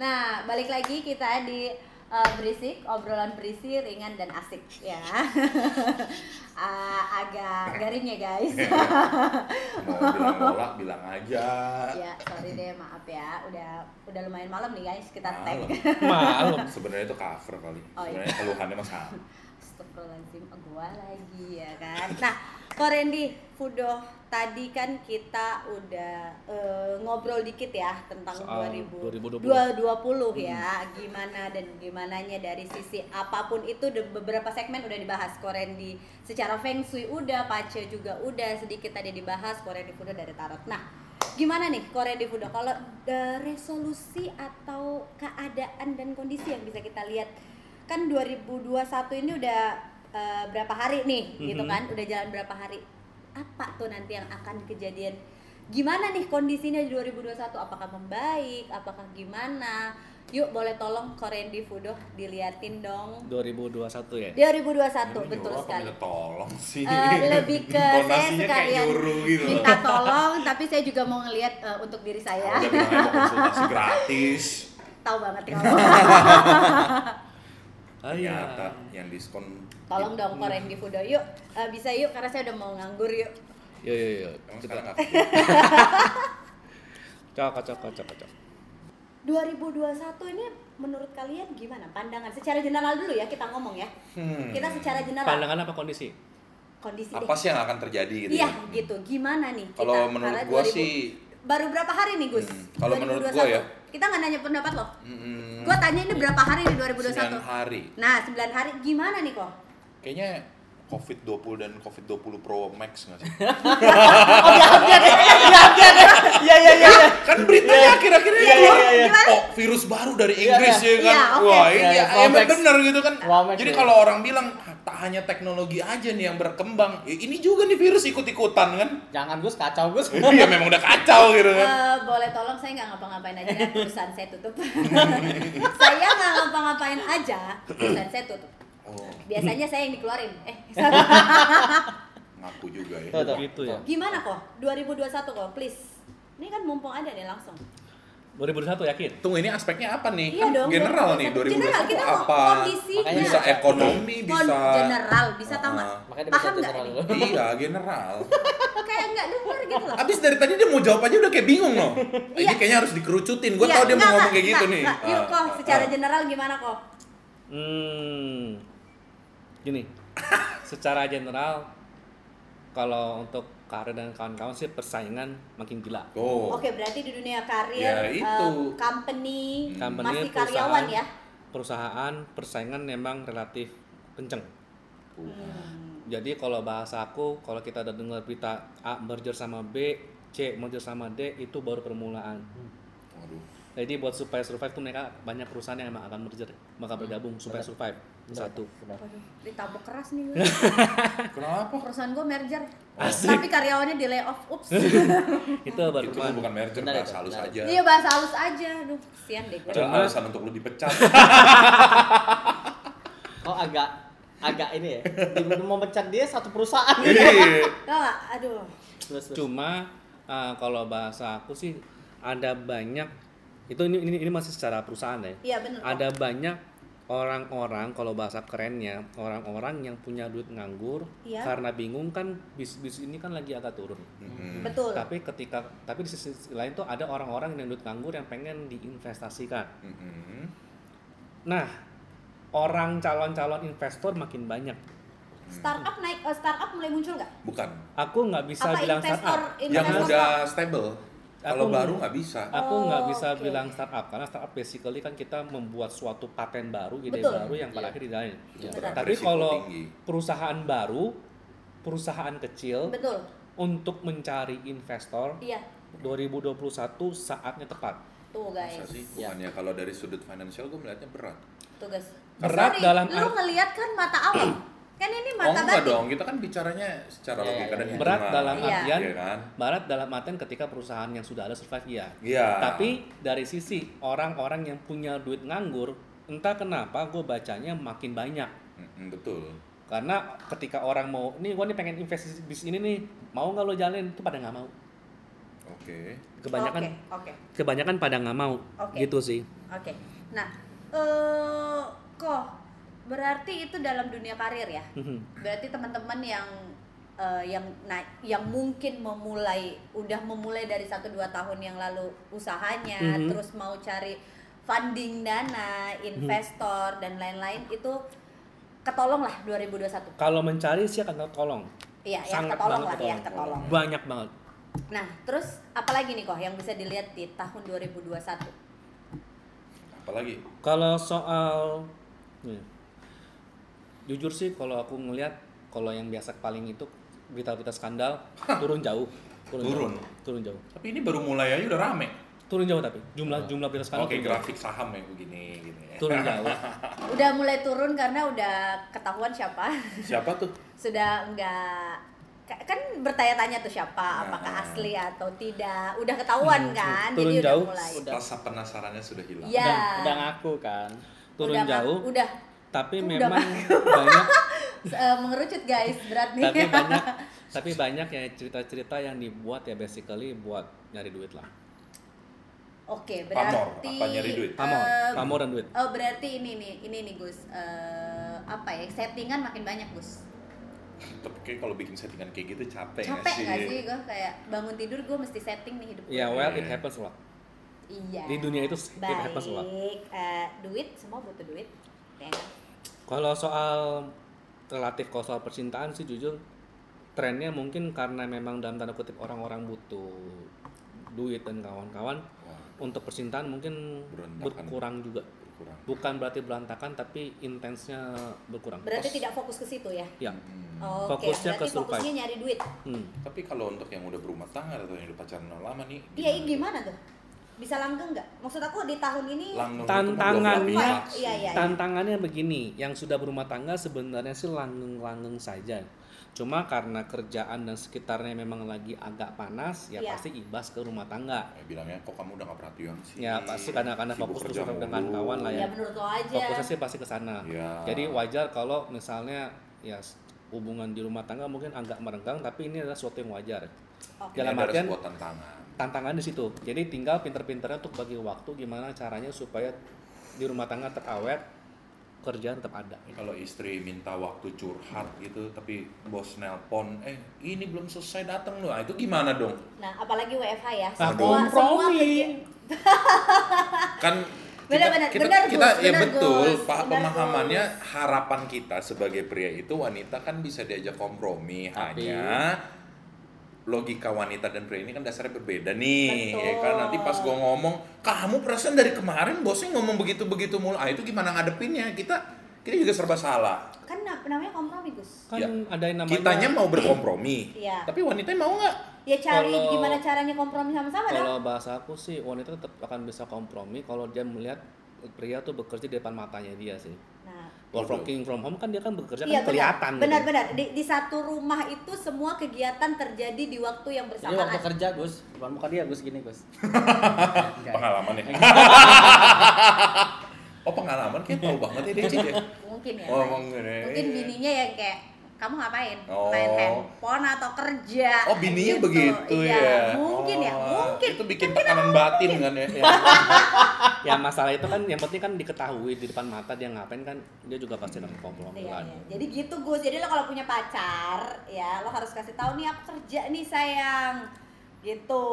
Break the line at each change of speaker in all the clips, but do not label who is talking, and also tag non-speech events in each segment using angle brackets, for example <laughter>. Nah, balik lagi kita di eh, berisik, obrolan berisi, ringan dan asik ya. Ah, agak garing ya guys.
mau bilang bolak bilang aja
<laughs> ya, sorry deh, maaf ya. Udah udah lumayan malam nih guys, kita
Malam.
Iya, tag.
Malam.
sebenarnya itu cover kali
Oh, iya.
sebenarnya keluhannya mas sama
Astagfirullahaladzim, oh, gua lagi ya kan. Nah, Korendi, Fudo, tadi kan kita udah eh, ngobrol dikit ya tentang
Soal
2020,
2020.
2020 ya, gimana dan gimananya dari sisi apapun itu de- beberapa segmen udah dibahas Korendi. Secara Feng Shui udah, Pace juga udah sedikit tadi dibahas Korendi Fudo dari tarot. Nah, gimana nih Korendi Fudo kalau eh, resolusi atau keadaan dan kondisi yang bisa kita lihat kan 2021 ini udah eh, berapa hari nih gitu
Mhm.
kan udah jalan berapa hari apa tuh nanti yang akan kejadian gimana nih kondisinya di 2021 apakah membaik apakah gimana yuk boleh tolong Korendi Fudo diliatin dong
2021 ya.
2021 betul
Nyuruh apa
sekali
minta tolong sih
Eh, lebih ke saya
Intonasinya kayak
sekalian
nyuruh gitu loh.
minta ya. tolong tapi saya juga mau ngelihat eh, untuk diri saya
udah bilang aja mau konsultasi gratis
tahu banget kamu
Iya,
Oh, iya.
ternyata yang diskon
tolong dong Korendi Fudo yuk Eh, bisa yuk karena saya udah mau nganggur yuk
Yo yo yo.
emang sekarang
<laughs>
Kita
nggak kerja?
cocok cocok cocok cocok.
2021 ini menurut kalian gimana pandangan secara general dulu ya kita ngomong ya
Hmm.
kita secara general
Pandangan apa kondisi?
kondisi
apa
deh
sih yang akan terjadi gitu
iya
ya?
gitu gimana nih kita
Kalau menurut
karena
gua
2000
sih-
baru berapa hari nih Gus
Hmm, kalau menurut gua
2021.
ya.
kita nggak nanya pendapat loh
Mm,
gua tanya ini berapa hari di
sembilan
2021
hari
nah 9 hari gimana nih kok
kayaknya covid 20 dan covid 20 pro max nggak sih
Iya iya iya.
kan beritanya akhir-akhir ini
Iya,
keluar
iya, iya.
Gimana?
kok Oh, virus baru dari Inggris
Iya,
ya kan
Iya, oke.
wah
Iya,
ini
iya,
emang
Romex.
bener gitu kan
Romex,
jadi
iya.
kalau orang bilang "Ah, tak hanya teknologi aja nih yang berkembang ya, ini juga nih virus ikut-ikutan kan <laughs>
Jangan Gus kacau Gus.
iya memang udah kacau gitu kan
Eh, boleh tolong saya nggak ngapa-ngapain aja perusahaan saya tutup <laughs> saya nggak ngapa-ngapain aja perusahaan saya tutup
oh
biasanya saya yang dikeluarin
<laughs>
eh
ngaku juga ya
Tetap gitu ya.
Gimana kok? 2021 kok, please. Ini kan mumpung ada nih langsung.
2021 yakin.
tunggu ini aspeknya apa nih
Iya
Kan
dong,
general nih
2021.
2021
General, kita mau
apa
kondisinya.
Makanya
bisa
bisa-
ekonomi
Kon
bisa
general bisa tahu nggak?
Ah,
Makanya
Paham
bisa
nggak?
general dulu.
iya general
Kayak nggak dengar gitu loh.
Abis dari tadi dia mau jawab aja udah kayak bingung
<laughs>
loh. Ini
Iya.
kayaknya harus dikerucutin. Gue
Iya,
tau dia
nggak,
mau ngomong
nggak,
kayak gitu
nggak,
nih.
nggak. Yuk
Ah,
kok,
ah,
secara
ah.
general gimana kok?
Hmm. Gini. Secara general kalau untuk karir dan kawan-kawan sih persaingan makin gila.
Oh.
Oke, berarti di dunia karir,
Ya,
eh,
itu.
company,
Company,
masih
perusahaan.
karyawan ya.
Perusahaan persaingan memang relatif kenceng.
Hmm.
Jadi kalau bahasa aku, kalau kita udah dengar berita A merger sama B, C merger sama D itu baru permulaan.
Waduh.
Jadi buat supaya survive tuh mereka banyak perusahaan yang emang akan merger, bakal bergabung supaya survive. Satu.
Waduh, ditabok keras nih.
<laughs>
gue.
Kenapa?
Oh, Perusahaan gue merger.
Asik.
Tapi karyawannya di layoff. Ups.
<laughs> Iya.
Itu baru
Itu
permulaan.
bukan merger,
Benar
bahasa
itu,
halus
benar.
aja.
Iya bahasa halus aja. Aduh, kesian deh gue.
Padahal
Cuma-
alasan untuk lu dipecat.
Kok Oh, agak agak ini ya? Dibilang mau pecat dia satu perusahaan.
Iya.
Tau nggak? Aduh.
Terus terus.
Cuma uh, kalau bahasa aku sih ada banyak itu ini ini, ini masih secara perusahaan ya.
Iya bener. kok.
Ada banyak orang-orang kalau bahasa kerennya orang-orang yang punya duit nganggur
Iya.
karena bingung kan bis-bis ini kan lagi agak turun.
Mm-mm.
Betul.
Tapi ketika tapi di sisi lain tuh ada orang-orang yang duit nganggur yang pengen diinvestasikan.
Mm-mm.
Nah, orang calon-calon investor makin banyak.
startup naik eh, startup mulai muncul nggak?
Bukan.
Aku nggak bisa
Apa
bilang
investor-
startup.
investor-
Yang
Jangan-
Investor
udah stable. Kalau
Aku-
baru nggak bisa.
Aku
Oh,
nggak bisa
oke.
bilang startup karena startup basically kan kita membuat suatu paten baru, ide
Betul.
baru yang pada
Iya.
akhirnya dijalani.
Itu
Benar.
berapa
Tapi
risiko
kalau
tinggi.
perusahaan baru, perusahaan kecil
Betul.
untuk mencari investor
Iya.
2021 saatnya tepat.
Tuh
Masa
guys.
sih?
Iya.
Bukannya kalau dari sudut financial gue melihatnya berat.
Tuh guys.
Berat dalam
lu
art-
ngelihat kan mata awam. kan ini
Oh
mata
enggak
batin.
dong, kita kan bicaranya secara
Iya,
logika dan
iya, iya.
hitungan.
Berat dalam
Iya.
artian
Iya kan?
Barat dalam artian ketika perusahaan yang sudah ada survive iya.
Iya.
Tapi dari sisi orang-orang yang punya duit nganggur, entah kenapa gue bacanya makin banyak.
Mm-mm, betul.
Karena ketika orang mau, nih gua nih pengen investasi bisnis ini nih, mau nggak lo jalanin? Itu pada nggak mau.
Oke.
Kebanyakan
Oke, oke,
kebanyakan pada nggak mau.
Oke.
Gitu sih.
oke. Nah, eh kok berarti itu dalam dunia karir ya?
Mhm.
Berarti teman-teman yang eh, yang nah, yang mungkin memulai udah memulai dari 1 2 tahun yang lalu usahanya,
Mhm.
terus mau cari funding dana, investor dan lain-lain itu ketolong lah 2021.
Kalau mencari sih akan tolong.
Iya, ya
Sangat
ketolong
banget
lah, ya ketolong.
Banyak banget.
Nah, terus apalagi nih kok yang bisa dilihat di tahun 2021?
Apalagi?
Kalau soal ya. jujur sih kalau aku ngelihat kalau yang biasa paling itu berita-berita skandal turun jauh, turun,
Turun.
jauh, turun jauh,
Tapi ini baru mulai aja udah rame.
turun jauh tapi jumlah jumlah berita skandal
Oke,
turun, jauh.
grafik saham ya begini gini. ya. <laughs>
turun jauh.
Udah mulai turun karena udah ketahuan siapa. <laughs>
Siapa tuh?
Sudah enggak kan bertanya-tanya tuh siapa, apakah
Nah.
asli atau tidak. Udah ketahuan kan,
Turun
jadi
jauh.
udah mulai.
Udah.
Rasa penasarannya sudah hilang.
Iya.
Udah, udah ngaku kan.
Turun
Udah,
jauh.
Udah
Tapi
Udah
memang
<laughs>
banyak
eh, mengerucut guys, berat nih.
tapi banyak tapi banyak ya cerita-cerita yang dibuat ya basically buat nyari duit lah.
<laughs> Oke,
Pamor,
berarti
apa nyari duit?
Pamor,
eh,
pamor dan duit.
Oh berarti ini nih, ini nih Gus, Eh, apa ya settingan makin banyak Gus.
Tapi kayak kalau bikin settingan kayak gitu capek, nggak
Capek nggak sih gue kayak bangun tidur gue mesti setting nih hidup.
Ya
gua.
well it happens lah.
Iya.
Di dunia itu it
Baik.
happens lah.
eh, duit semua butuh duit. Ya kan?
Kalau soal relatif kalau soal percintaan sih jujur trennya mungkin karena memang dalam tanda kutip orang-orang butuh duit dan kawan-kawan
Wah,
untuk percintaan mungkin
Berantakan.
berkurang juga
berkurang.
bukan berarti berantakan tapi intensnya berkurang
Berarti
Pos-
tidak fokus ke situ ya.
ya
Hmm.
Oke,
Fokusnya
berarti
ke survive.
fokusnya nyari duit.
hmm.
Tapi kalau untuk yang udah berumah tangga atau yang udah pacaran lama nih,
Iya, ini gimana tuh? Bisa langgeng nggak? Maksud aku di tahun ini
Langgeng kan
Tantangannya-
itu mah dua belas
Iya, iya.
tantangannya begini yang sudah berumah tangga sebenarnya sih langgeng-langgeng saja cuma karena kerjaan dan sekitarnya memang lagi agak panas ya
Iya.
pasti ibas ke rumah tangga
Eh, bilangnya kok kamu udah gak perhatian sih?
Ya, pasti kadang-kadang
Sibuk
fokus terus
kerja
sama
mulu.
dengan kawan lah
ya menurut lo aja.
fokusnya sih pasti ke sana.
Iya.
Jadi wajar kalau misalnya ya s- hubungan di rumah tangga mungkin agak merenggang tapi ini adalah sesuatu yang wajar.
Oke.
Ini
Dalam
ada
artian
sebuah tantangan.
tantangan di situ. Jadi tinggal pinter-pinternya untuk bagi waktu gimana caranya supaya di rumah tangga terawet kerjaan tetap ada.
Ini Kalau istri minta waktu curhat gitu, tapi bos nelpon, eh ini belum selesai datang loh, Ah, itu gimana dong?
Nah, apalagi WFH ya.
Nah,
Semua semua kerja-
kompromi.
<laughs>
Kan
Benar,
kita,
benar.
kita,
Benar,
kita
Gus.
ya
Benar,
betul,
Gus.
pa-
Benar,
pemahamannya
Gus.
harapan kita sebagai pria itu wanita kan bisa diajak kompromi,
Tapi-
hanya logika wanita dan pria ini kan dasarnya berbeda nih
Betul.
ya kan nanti pas gue ngomong kamu perasaan dari kemarin bosnya ngomong begitu begitu mulu ah itu gimana ngadepinnya kita kita juga serba salah
Kan na- namanya kompromi, Gus.
Kan
Ya.
ada yang namanya
kitanya mau berkompromi
Iya.
tapi wanitanya mau nggak
Ya cari
Kalau-
gimana caranya kompromi sama-sama dong.
kalau bahasa aku sih wanita tetap akan bisa kompromi kalau dia melihat pria tuh bekerja di depan matanya dia sih.
Nah,
Kalau working from home kan dia kan bekerja
Iya
kan
benar.
kelihatan. gitu.
Benar-benar di, di satu rumah itu semua kegiatan terjadi di waktu yang
Jadi waktu
Iya,
bersamaan.
kerja Gus, bukan muka dia Gus gini Gus.
pengalaman ya oh pengalaman kayak tahu banget ya dia Cik, ya
Mungkin ya.
Oh, mungkin ya.
Mungkin bininya yang kayak kamu ngapain?
Oh.
Main handphone atau kerja?
oh bininya
Gitu.
begitu
Iya,
ya
Mungkin ya,
Oh,
mungkin.
itu bikin tekanan batin kan ya
ya, ya masalah itu kan yang penting kan diketahui di depan mata dia ngapain kan dia juga pasti akan kompromi
Iya,
kan.
iya. Jadi gitu Gus. Jadi lo kalau punya pacar, ya lo harus kasih tahu nih aku kerja nih sayang. Gitu.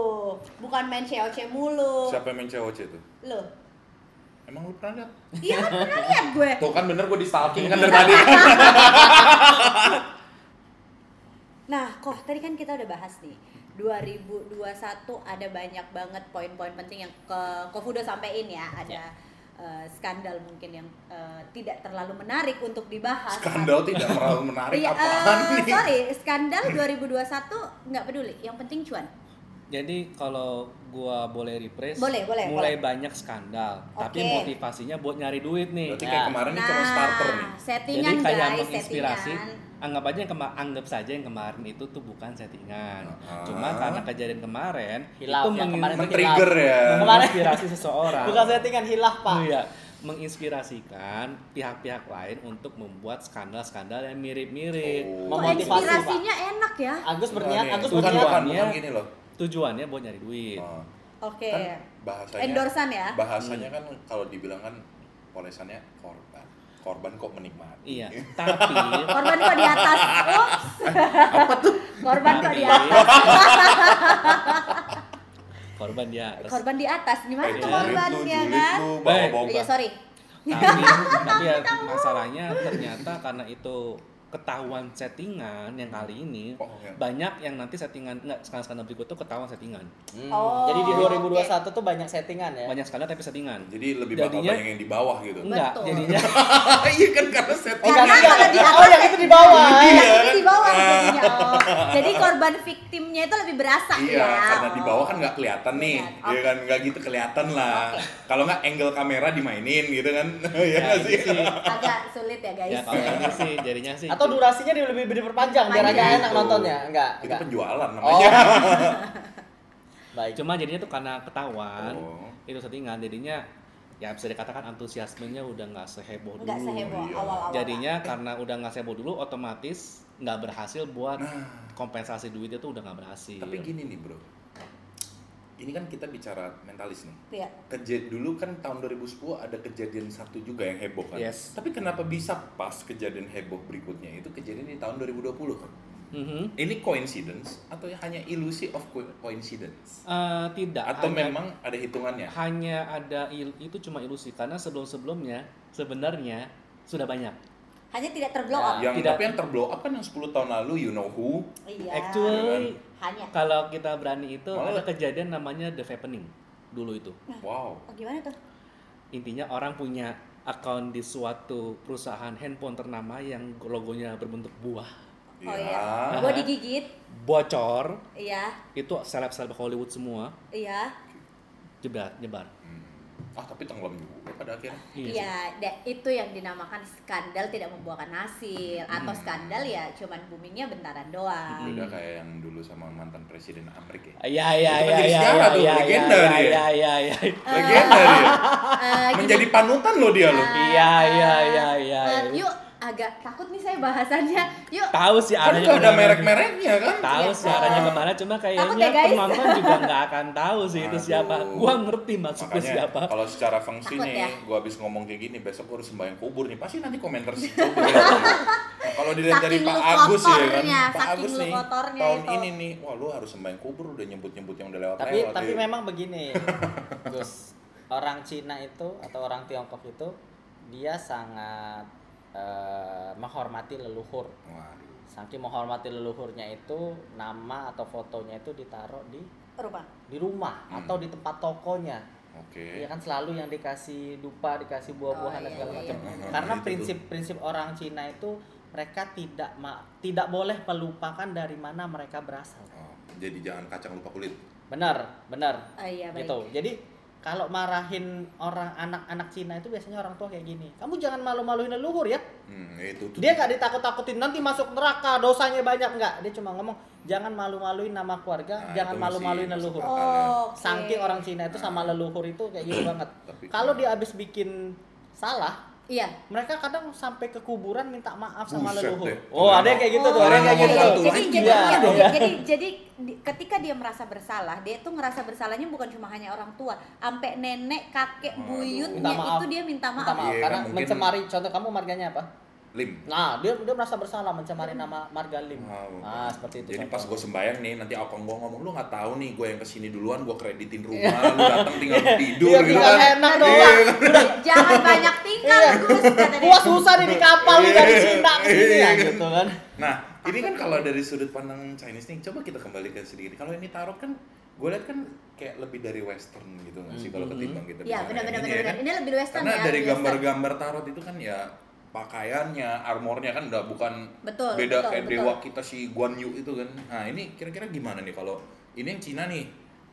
Bukan main COC mulu.
siapa yang main COC tuh
Loh.
emang lu pernah lihat
Iya kan pernah lihat gue.
tuh kan bener gue di stalking kan dari tadi
Nah, kok tadi kan kita udah bahas nih 2021 ada banyak banget poin-poin penting yang ke Kofudo sampein ya. Ada eh, skandal mungkin yang eh, tidak terlalu menarik untuk dibahas.
skandal tidak terlalu menarik
Iya,
apaan
eh,
nih
sorry, skandal 2021 nggak peduli, yang penting cuan.
Jadi kalau gua boleh rephrase,
Boleh, boleh, boleh.
mulai banyak skandal, tapi
Oke.
motivasinya buat nyari duit nih.
berarti kayak
Nah.
kemarin ini cuma
nah,
starter nih
settingan
Jadi kayak
guys,
menginspirasi.
settingan.
Anggap aja yang kema- anggap saja yang kemarin itu tuh bukan settingan.
Ah.
Cuma karena kejadian kemarin
Hilaf
itu
ya,
mengin-
kemarin
men-trigger ya
Kemarin-
menginspirasi seseorang.
Bukan settingan hilaf Pak.
Iya. menginspirasikan pihak-pihak lain untuk membuat skandal-skandal yang mirip-mirip.
Oh.
Kok
Memotivasi, Pak.
inspirasinya enak ya?
Agus berniat,
Oke.
Agus
bukan,
berniat.
bukan,
Tujuannya-
bukan gini loh.
Tujuannya buat nyari duit.
Oh.
Oke.
Kan bahasanya
Endorsan ya?
Bahasanya kan kalau dibilang kan polesannya korban. Korban kok menikmati.
Iya, tapi
Korban kok di
<laughs>
atas. Ups. Korban kok di
Tapi-
atas.
<laughs> korban di atas.
Korban di atas. Gimana
Eh,
tuh
Iya.
korbannya kan?
lu,
Baik.
bawa-bawa.
Iya, sorry. <laughs>
tapi, tapi ya masalahnya ternyata karena itu ketahuan settingan yang kali ini
Oh, iya.
banyak yang nanti settingan enggak skandal-skandal berikut tuh ketahuan settingan
Hmm,
Oh,
Jadi di
oke.
2021 tuh banyak settingan
Iya.
ya.
banyak skandal tapi settingan
Jadi lebih bakal
Jadinya-
banyak yang di bawah gitu.
enggak
Betul.
jadinya
<laughs> Iya kan karena setting.
Karena
Eh, enggak,
kalau di
enggak.
atas
Oh, yang itu di bawah.
Yang
Iya.
ini di bawah jadinya.
<laughs>
Oh. Jadi korban victimnya itu lebih berasa
Iya,
ya.
karena di bawah kan nggak kelihatan nih,
Kelihatan.
ya kan nggak gitu kelihatan lah.
Oke.
Kalau nggak angle kamera dimainin gitu kan, <laughs> ya nggak
<laughs> Ya,
sih.
itu sih.
agak sulit ya guys.
ya kalau ini sih jadinya sih
Atau
itu.
durasinya di- lebih diperpanjang biar agak
Panjang.
enak nontonnya. Enggak,
Itu
enggak.
penjualan
Oh.
namanya.
Baik.
cuma jadinya tuh karena ketahuan
Oh.
itu settingan jadinya ya bisa dikatakan antusiasmenya udah nggak seheboh dulu
Enggak seheboh
Iya.
awal-awal.
jadinya karena udah nggak seheboh dulu otomatis nggak berhasil buat kompensasi duit itu udah nggak berhasil
Nah. Tapi gitu. gini nih bro, ini kan kita bicara mentalis nih.
Iya.
Keja dulu kan tahun 2010 ada kejadian satu juga yang heboh kan.
Yes.
Tapi kenapa bisa pas kejadian heboh berikutnya itu kejadian di tahun 2020 kan?
Mhm.
Ini coincidence atau hanya ilusi of co- coincidence?
Eh, tidak
Atau
hanya-
memang ya? ada hitungannya?
hanya ada il- itu cuma ilusi karena sebelum sebelumnya sebenarnya sudah banyak
Hanya tidak terblow up.
Yang
Tidak.
tapi yang terblow up kan yang 10 tahun lalu you know who.
Iya.
actually
Hanya.
kalau kita berani itu
Malah-
ada kejadian namanya the vappening dulu itu
Wow.
Oh, gimana tuh?
intinya orang punya account di suatu perusahaan handphone ternama yang logonya berbentuk buah
Oh
Ya.
iya. Gue digigit.
bocor
Iya.
itu seleb seleb Hollywood semua
Iya.
jebar jebar
Hmm. Ah tapi tenggelam juga pada akhirnya.
sih.
Iya, da- itu yang dinamakan skandal tidak membuahkan hasil
Hmm.
atau skandal ya cuman boomingnya bentaran doang.
Iya.
Beda kayak yang dulu sama mantan presiden Amerika. ya.
Iya iya
Itu kan
iya
jadi
iya
sejarah tuh,
iya
legenda
iya
dia.
iya iya iya
Legenda
<laughs>
dia.
<laughs>
Eh, gini,
Menjadi panutan lo dia lo.
iya iya iya iya
eh,
iya.
yuk agak takut nih saya bahasannya. Yuk.
tahu sih
Kan
arahnya
nggak ada
kemana.
merek-mereknya kan.
tahu
Iya.
sih arahnya kemana cuma kayaknya
ya, guys?
penonton
<laughs>
juga nggak akan tahu sih itu
Aduh.
siapa gua ngerti maksudnya
Makanya
siapa
kalau secara fungsi
Takut
nih,
ya?
gua habis ngomong kayak gini, besok gua harus sembahyang kubur nih, pasti nanti komentar si kubur. Nah, kalau dilihat dari
Saking
Pak
lu
Agus ya kan,
kotornya,
Pak
saking
Agus
lu
nih,
kotornya
tahun
itu.
ini nih, wah lu harus sembahyang kubur udah nyebut-nyebut yang udah lewat
tapi
lewat. ya. iya.
tapi memang
<laughs>
begini Gus orang Cina itu atau orang Tiongkok itu dia sangat eh, menghormati leluhur
Waduh.
saking menghormati leluhurnya itu nama atau fotonya itu ditaruh di
Rumah.
di rumah
Hmm.
atau di tempat tokonya
Oke.
ya kan selalu yang dikasih dupa dikasih buah-buahan
Oh,
dan
iya,
segala
iya,
macam
iya.
karena
Itu tuh.
prinsip-prinsip orang Cina itu mereka tidak ma- tidak boleh melupakan dari mana mereka berasal
Oh, jadi jangan kacang lupa kulit.
benar benar
Oh, iya baik.
gitu jadi kalau marahin orang anak-anak Cina itu biasanya orang tua kayak gini kamu jangan malu-maluin leluhur ya
Hmm, itu tuh.
dia nggak ditakut-takutin nanti masuk neraka dosanya banyak nggak dia cuma ngomong jangan malu-maluin nama keluarga
Nah,
jangan
itu
malu-maluin
masih-
leluhur
Oh,
Oh, oke.
saking orang Cina itu sama leluhur itu kayak
<clears throat>
gitu banget
Tapi- nah.
kalau dia habis bikin salah
Iya.
mereka kadang sampai ke kuburan minta maaf sama
Buset
leluhur
deh.
oh ada yang kayak gitu tuh
Orang
ada yang kayak
ngomong
gitu
satu
tuh
Jadi
lagi.
jadi
Iya,
iya,
iya.
jadi jadi di- ketika dia merasa bersalah, dia tuh ngerasa bersalahnya bukan cuma hanya orang tua, sampai nenek, kakek,
Aduh.
buyutnya
Hmm. Minta maaf.
itu dia minta
minta
maaf.
maaf
Iya,
karena
kan mungkin-
mencemari contoh kamu marganya apa
Lim.
Nah, dia dia merasa bersalah mencemari
Hmm.
nama marga Lim. Nah, seperti
Oh.
itu.
Jadi
contoh.
pas gue sembahyang nih, nanti abang gue ngomong, lu nggak tahu nih, gue yang kesini duluan, gue kreditin rumah, lu
<laughs>
datang tinggal tidur
Iya,
gitu
tinggal
kan.
enak
Iya,
doang.
kan?
Jangan banyak tingkah,
Iya.
Gus. kata dia.
Gua susah nih di kapal nih dari
Iya.
Cina ke sini ya gitu kan.
Nah, ini kan kalau dari sudut pandang Chinese nih, coba kita kembalikan sedikit. Kalau ini tarot kan, gue lihat kan kayak lebih dari western gitu nggak sih kalau ketimbang kita
Iya,
bicara
benar benar
yang
benar.
ya
benar.
kan?
Ini lebih western
Karena
ya.
dari
lebih western.
gambar-gambar tarot itu kan ya pakaiannya, armornya kan udah bukan
Betul,
beda
betul,
kayak
betul.
dewa kita si Guan Yu itu kan. Nah, ini kira-kira gimana nih kalau ini yang Cina nih,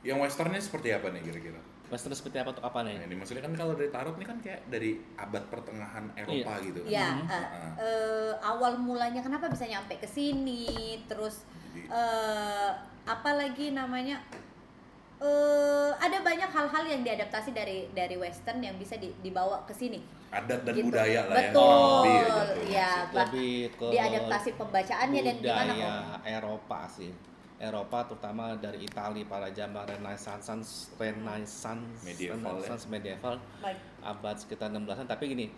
yang westernnya seperti apa nih kira-kira?
Western seperti apa untuk apa nih
Nah, ini maksudnya kan kalau dari tarot nih kan kayak dari abad pertengahan Eropa gitu kan.
Ya,
Heeh.
eh, eh, awal mulanya kenapa bisa nyampe ke sini? Terus
Jadi-
eh apa lagi namanya? eh, ada banyak hal-hal yang diadaptasi dari dari western yang bisa di- dibawa ke sini.
adat dan
Gitu.
budaya lah ya.
Betul.
Lebih
Iya,
gitu.
bah-
lebih ke
diadaptasi pembacaannya Kan ya, dan gimana
budaya
kok.
Eropa sih Eropa terutama dari Italia pada zaman Renaissance Renaissance
Medieval, ya.
Renaissance medieval
Baik.
abad sekitar 16-an tapi gini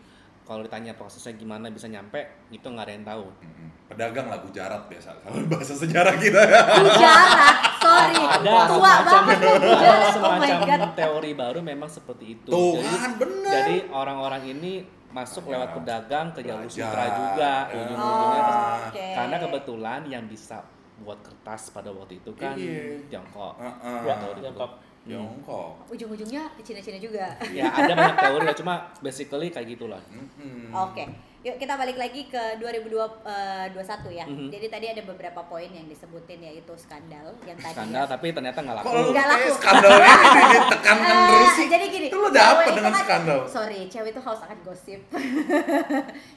kalau ditanya prosesnya gimana bisa nyampe itu nggak ada yang tahu
Mm-mm. Pedagang lah Gujarat biasa kalau <laughs> bahasa sejarah kita ya.
Gujarat, sorry,
<laughs> ada
tua
semacam
banget ya Gujarat. Oh my
semacam
god.
teori baru memang seperti itu
Tuh
Jadi-
kan bener.
Jadi orang-orang ini masuk
Ya.
lewat pedagang ke jalur
Belajar.
sutra juga
Ya.
ujung-ujungnya ke-
Ah,
Oke.
karena kebetulan yang bisa buat kertas pada waktu itu kan
Iya.
Tiongkok.
Heeh.
Ya,
Teori
Tiongkok.
itu. Hmm.
Tiongkok.
Ujung-ujungnya ke Cina-Cina juga.
Ya ada banyak teori lah cuma basically kayak gitulah.
Mm-mm.
Oke, yuk kita balik lagi ke 2021 ya.
Hmm.
Mhm.
Jadi tadi ada beberapa poin yang disebutin yaitu skandal yang tadi.
Skandal
ya.
tapi ternyata nggak
Kok
laku.
lu
Nggak
kayak
laku.
skandalnya ini ditekankan
Eh,
terus sih?
jadi gini,
Itu lu udah apa
cewek itu
dengan
kan-
skandal?
Sorry, cewek itu haus akan gosip. <laughs>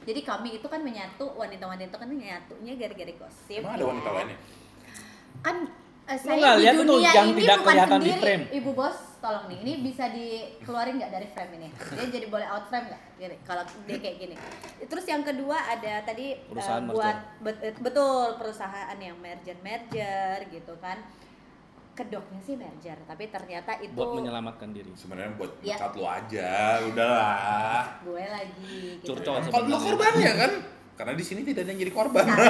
jadi kami itu kan menyatu wanita-wanita kan menyatunya gara-gara gosip.
Emang ada
ya.
wanita lainnya?
Kan eh, saya
nggak
di
lihat tuh
dunia
yang
ini
tidak
bukan
kelihatan di
sendiri.
frame?
Ibu bos, tolong nih, ini bisa dikeluarin nggak dari frame ini? Dia jadi boleh out frame nggak? Gini, Kalau dia kayak gini. Terus yang kedua ada tadi eh,
Perusahaan
buat bet- eh, betul perusahaan yang merger merger gitu kan. Kedoknya sih merger, tapi ternyata itu
buat menyelamatkan diri.
Sebenarnya buat
Ya.
mecat lu aja, udahlah.
gue lagi gitu.
Curcol
Kan lu
sebenarnya.
korbannya kan? Karena di sini tidak ada yang jadi korban.
Nah,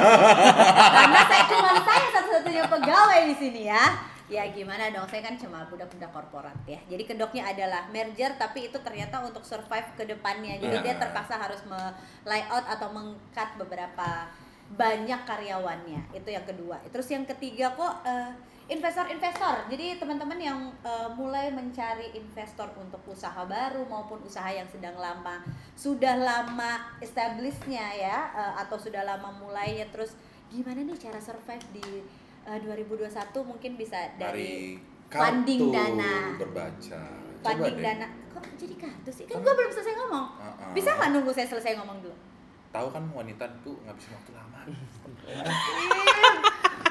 karena saya cuma saya satu-satunya pegawai di sini ya ya gimana dong saya kan cuma budak-budak korporat ya jadi kedoknya adalah merger tapi itu ternyata untuk survive ke depannya jadi
Nah.
dia terpaksa harus me layout atau mengkat beberapa banyak karyawannya itu yang kedua terus yang ketiga kok eh, investor-investor jadi teman-teman yang eh, mulai mencari investor untuk usaha baru maupun usaha yang sedang lama sudah lama establishnya ya eh, atau sudah lama mulainya terus gimana nih cara survive di eh, 2021 mungkin bisa dari
Dari
Funding
kartu
dana.
berbaca. Coba
funding
deh.
dana kok jadi kartu sih kan gue belum selesai ngomong
Uh-uh.
bisa nggak nunggu saya selesai ngomong
<laughs>
dulu
Tahu kan wanita tuh ngabisin waktu lama.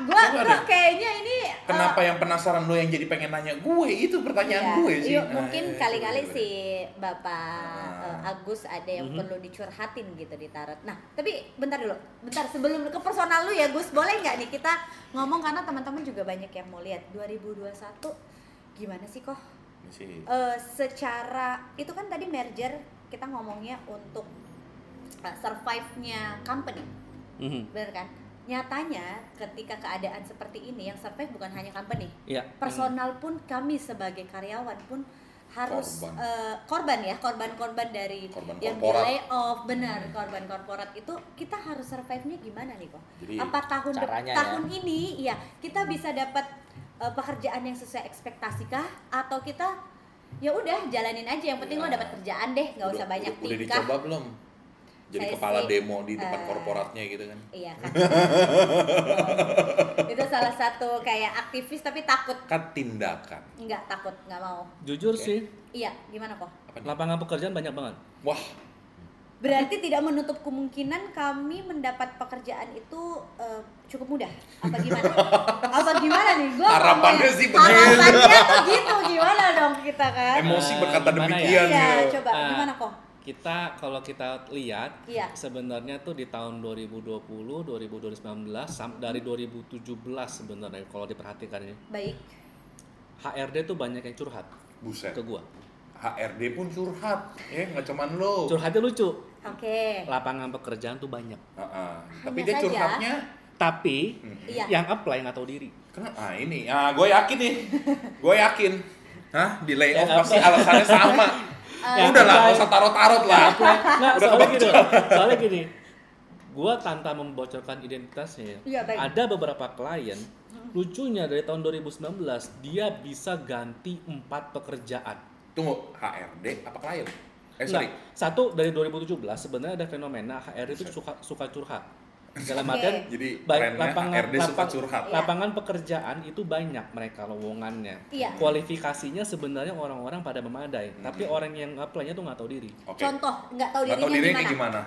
gue
Coba deh.
kayaknya ini eh,
Kenapa yang penasaran lu yang jadi pengen nanya gue? Itu
Iya.
pertanyaan gue sih.
Yuk, mungkin
Nah,
kali-kali
coba deh.
si Bapak
Ah.
eh, Agus ada yang
Mhm.
perlu dicurhatin gitu di tarot. Nah, tapi bentar dulu. Bentar sebelum ke personal lu ya, Gus. Boleh nggak nih kita ngomong karena teman-teman juga banyak yang mau lihat 2021 gimana sih kok?
Ini sih.
Eh, secara itu kan tadi merger kita ngomongnya untuk eh, survive-nya company,
Mhm.
bener kan? Nyatanya ketika keadaan seperti ini yang survive bukan hanya company,
Iya.
personal pun kami sebagai karyawan pun harus
Korban.
eh, korban ya korban-korban dari
Korban
yang di
korporat. Hmm.
layoff benar korban korporat itu kita harus survive nya gimana nih kok
Jadi
apa tahun dep-
caranya ya.
tahun ini ya kita
Hmm.
bisa dapat eh, pekerjaan yang sesuai ekspektasi kah atau kita ya udah jalanin aja yang penting
Iya.
lo dapat kerjaan deh nggak usah
Udah-
banyak
udah, udah
tingkah
dicoba belum? Jadi
Saya
kepala
sih,
demo di depan
eh,
korporatnya gitu kan. <laughs>
iya kan itu salah satu kayak aktivis tapi takut
Kan tindakan.
nggak takut nggak mau
Jujur
Oke.
sih,
iya gimana kok
Apa nih?
lapangan pekerjaan banyak banget.
Wah,
Berarti tidak menutup kemungkinan kami mendapat pekerjaan itu eh, cukup mudah. Apa gimana?
<laughs>
Apa gimana nih? Gua
Harapannya
ngomongnya-
sih begitu.
Harapannya tuh gitu gimana dong kita kan?
emosi
Eh,
berkata
gimana ya?
demikian
Iya,
gitu.
coba
Ah.
gimana kok?
Kita kalau kita lihat
Iya.
sebenarnya tuh di tahun 2020, 2019 sam- dari 2017 sebenarnya kalau diperhatikan ya.
Baik.
HRD tuh banyak yang curhat
Buset.
ke gua.
HRD pun curhat, ya nggak cuman lo.
Curhatnya lucu.
Oke.
Lapangan pekerjaan tuh banyak.
Heeh.
Hanya
Ah, Tapi dia
saja.
curhatnya
Tapi
Hmm.
Iya.
yang apply nggak tahu diri.
Kenapa? Ah ini, ah gue yakin nih, gue yakin. Hah? Di layoff
Ya,
pasti alasannya <laughs> sama.
Eh,
Udah lah, nggak
apply-
usah tarot-tarot lah.
<laughs> Nggak,
Udah
soalnya gini. Soalnya gini. Gua tanpa membocorkan identitasnya, ya,
Iya, baik.
ada beberapa klien lucunya dari tahun 2019 dia bisa ganti empat pekerjaan.
Tunggu, HRD apa klien? Eh
Nah,
sorry,
satu dari 2017 sebenarnya ada fenomena HR itu suka suka curhat. Dalam
Oke.
artian
jadi
baik
trennya
lapangan
HRD suka
lapang-
curhat.
Iya.
lapangan pekerjaan itu banyak mereka lowongannya.
Iya.
Kualifikasinya sebenarnya orang-orang pada memadai,
Mhm.
tapi orang yang apply-nya tuh nggak tahu diri.
Oke.
Contoh nggak tahu
Nggak
dirinya,
tahu dirinya kayak
gimana?
gimana?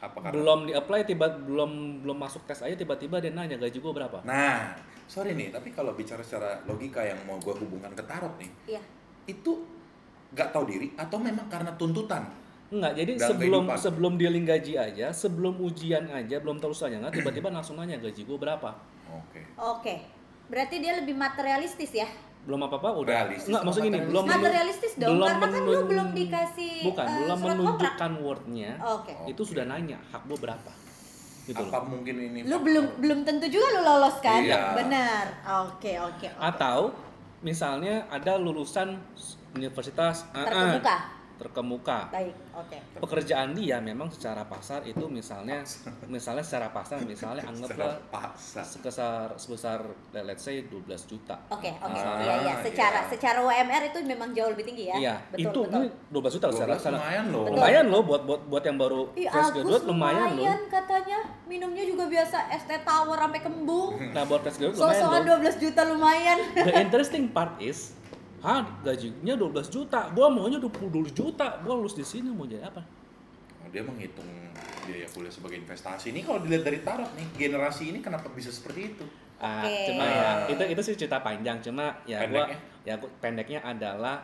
Apa karena?
Belum di-apply tiba belum belum masuk tes aja tiba-tiba dia nanya gaji gua berapa.
Nah, sorry nih tapi kalau bicara secara logika yang mau gue hubungkan ke tarot nih
Iya.
itu nggak tahu diri atau memang karena tuntutan
Enggak, jadi
Dalam
sebelum
kehidupan.
sebelum dealing gaji aja, sebelum ujian aja, belum terus aja nggak, tiba-tiba langsung nanya gaji gue berapa.
oke
Oke. Berarti dia lebih materialistis ya?
Belum apa-apa udah.
Realistis
Enggak,
apa
maksudnya gini,
materialistis?
belum menu-
Materialistis dong,
belum
karena kan lu
menun-
belum dikasih,
Bukan,
eh,
belum
surat
menunjukkan wordnya.
Oke.
Oh.
Itu sudah nanya hak gue berapa. Gitu
apa
loh.
mungkin ini
Lu belum belum tentu juga lu lolos kan?
Iya.
Benar. Oke, oke. oke.
Atau misalnya ada lulusan universitas AA,
Terkemuka.
terkemuka.
Baik, oke.
Pekerjaan dia memang secara pasar itu misalnya misalnya secara pasar misalnya
secara
anggaplah
paksa
sebesar sebesar let's say 12 juta.
Oke, oke.
Ah,
Iya, iya. Secara
iya.
secara UMR itu memang jauh lebih tinggi ya.
Iya,
betul,
itu
betul.
ini 12 juta loh secara,
12
secara-
lumayan loh
Betul.
lumayan loh buat buat buat yang baru
Ih,
fresh
Agus
graduate lumayan,
lumayan,
loh.
katanya minumnya juga biasa es teh tawar sampai kembung.
Nah, buat fresh graduate <laughs> lumayan
Sosokan
loh.
12 juta lumayan.
The interesting part is Hah, gajinya 12 juta. Gua maunya 22 juta. Gua lulus di sini mau jadi apa?
Oh, dia menghitung biaya kuliah sebagai investasi ini kalau dilihat dari tarot nih generasi ini kenapa bisa seperti itu
Ah,
Oke.
cuma ya
Ah.
itu itu sih cerita panjang. Cuma ya gua
Pendeknya?
ya gua- pendeknya adalah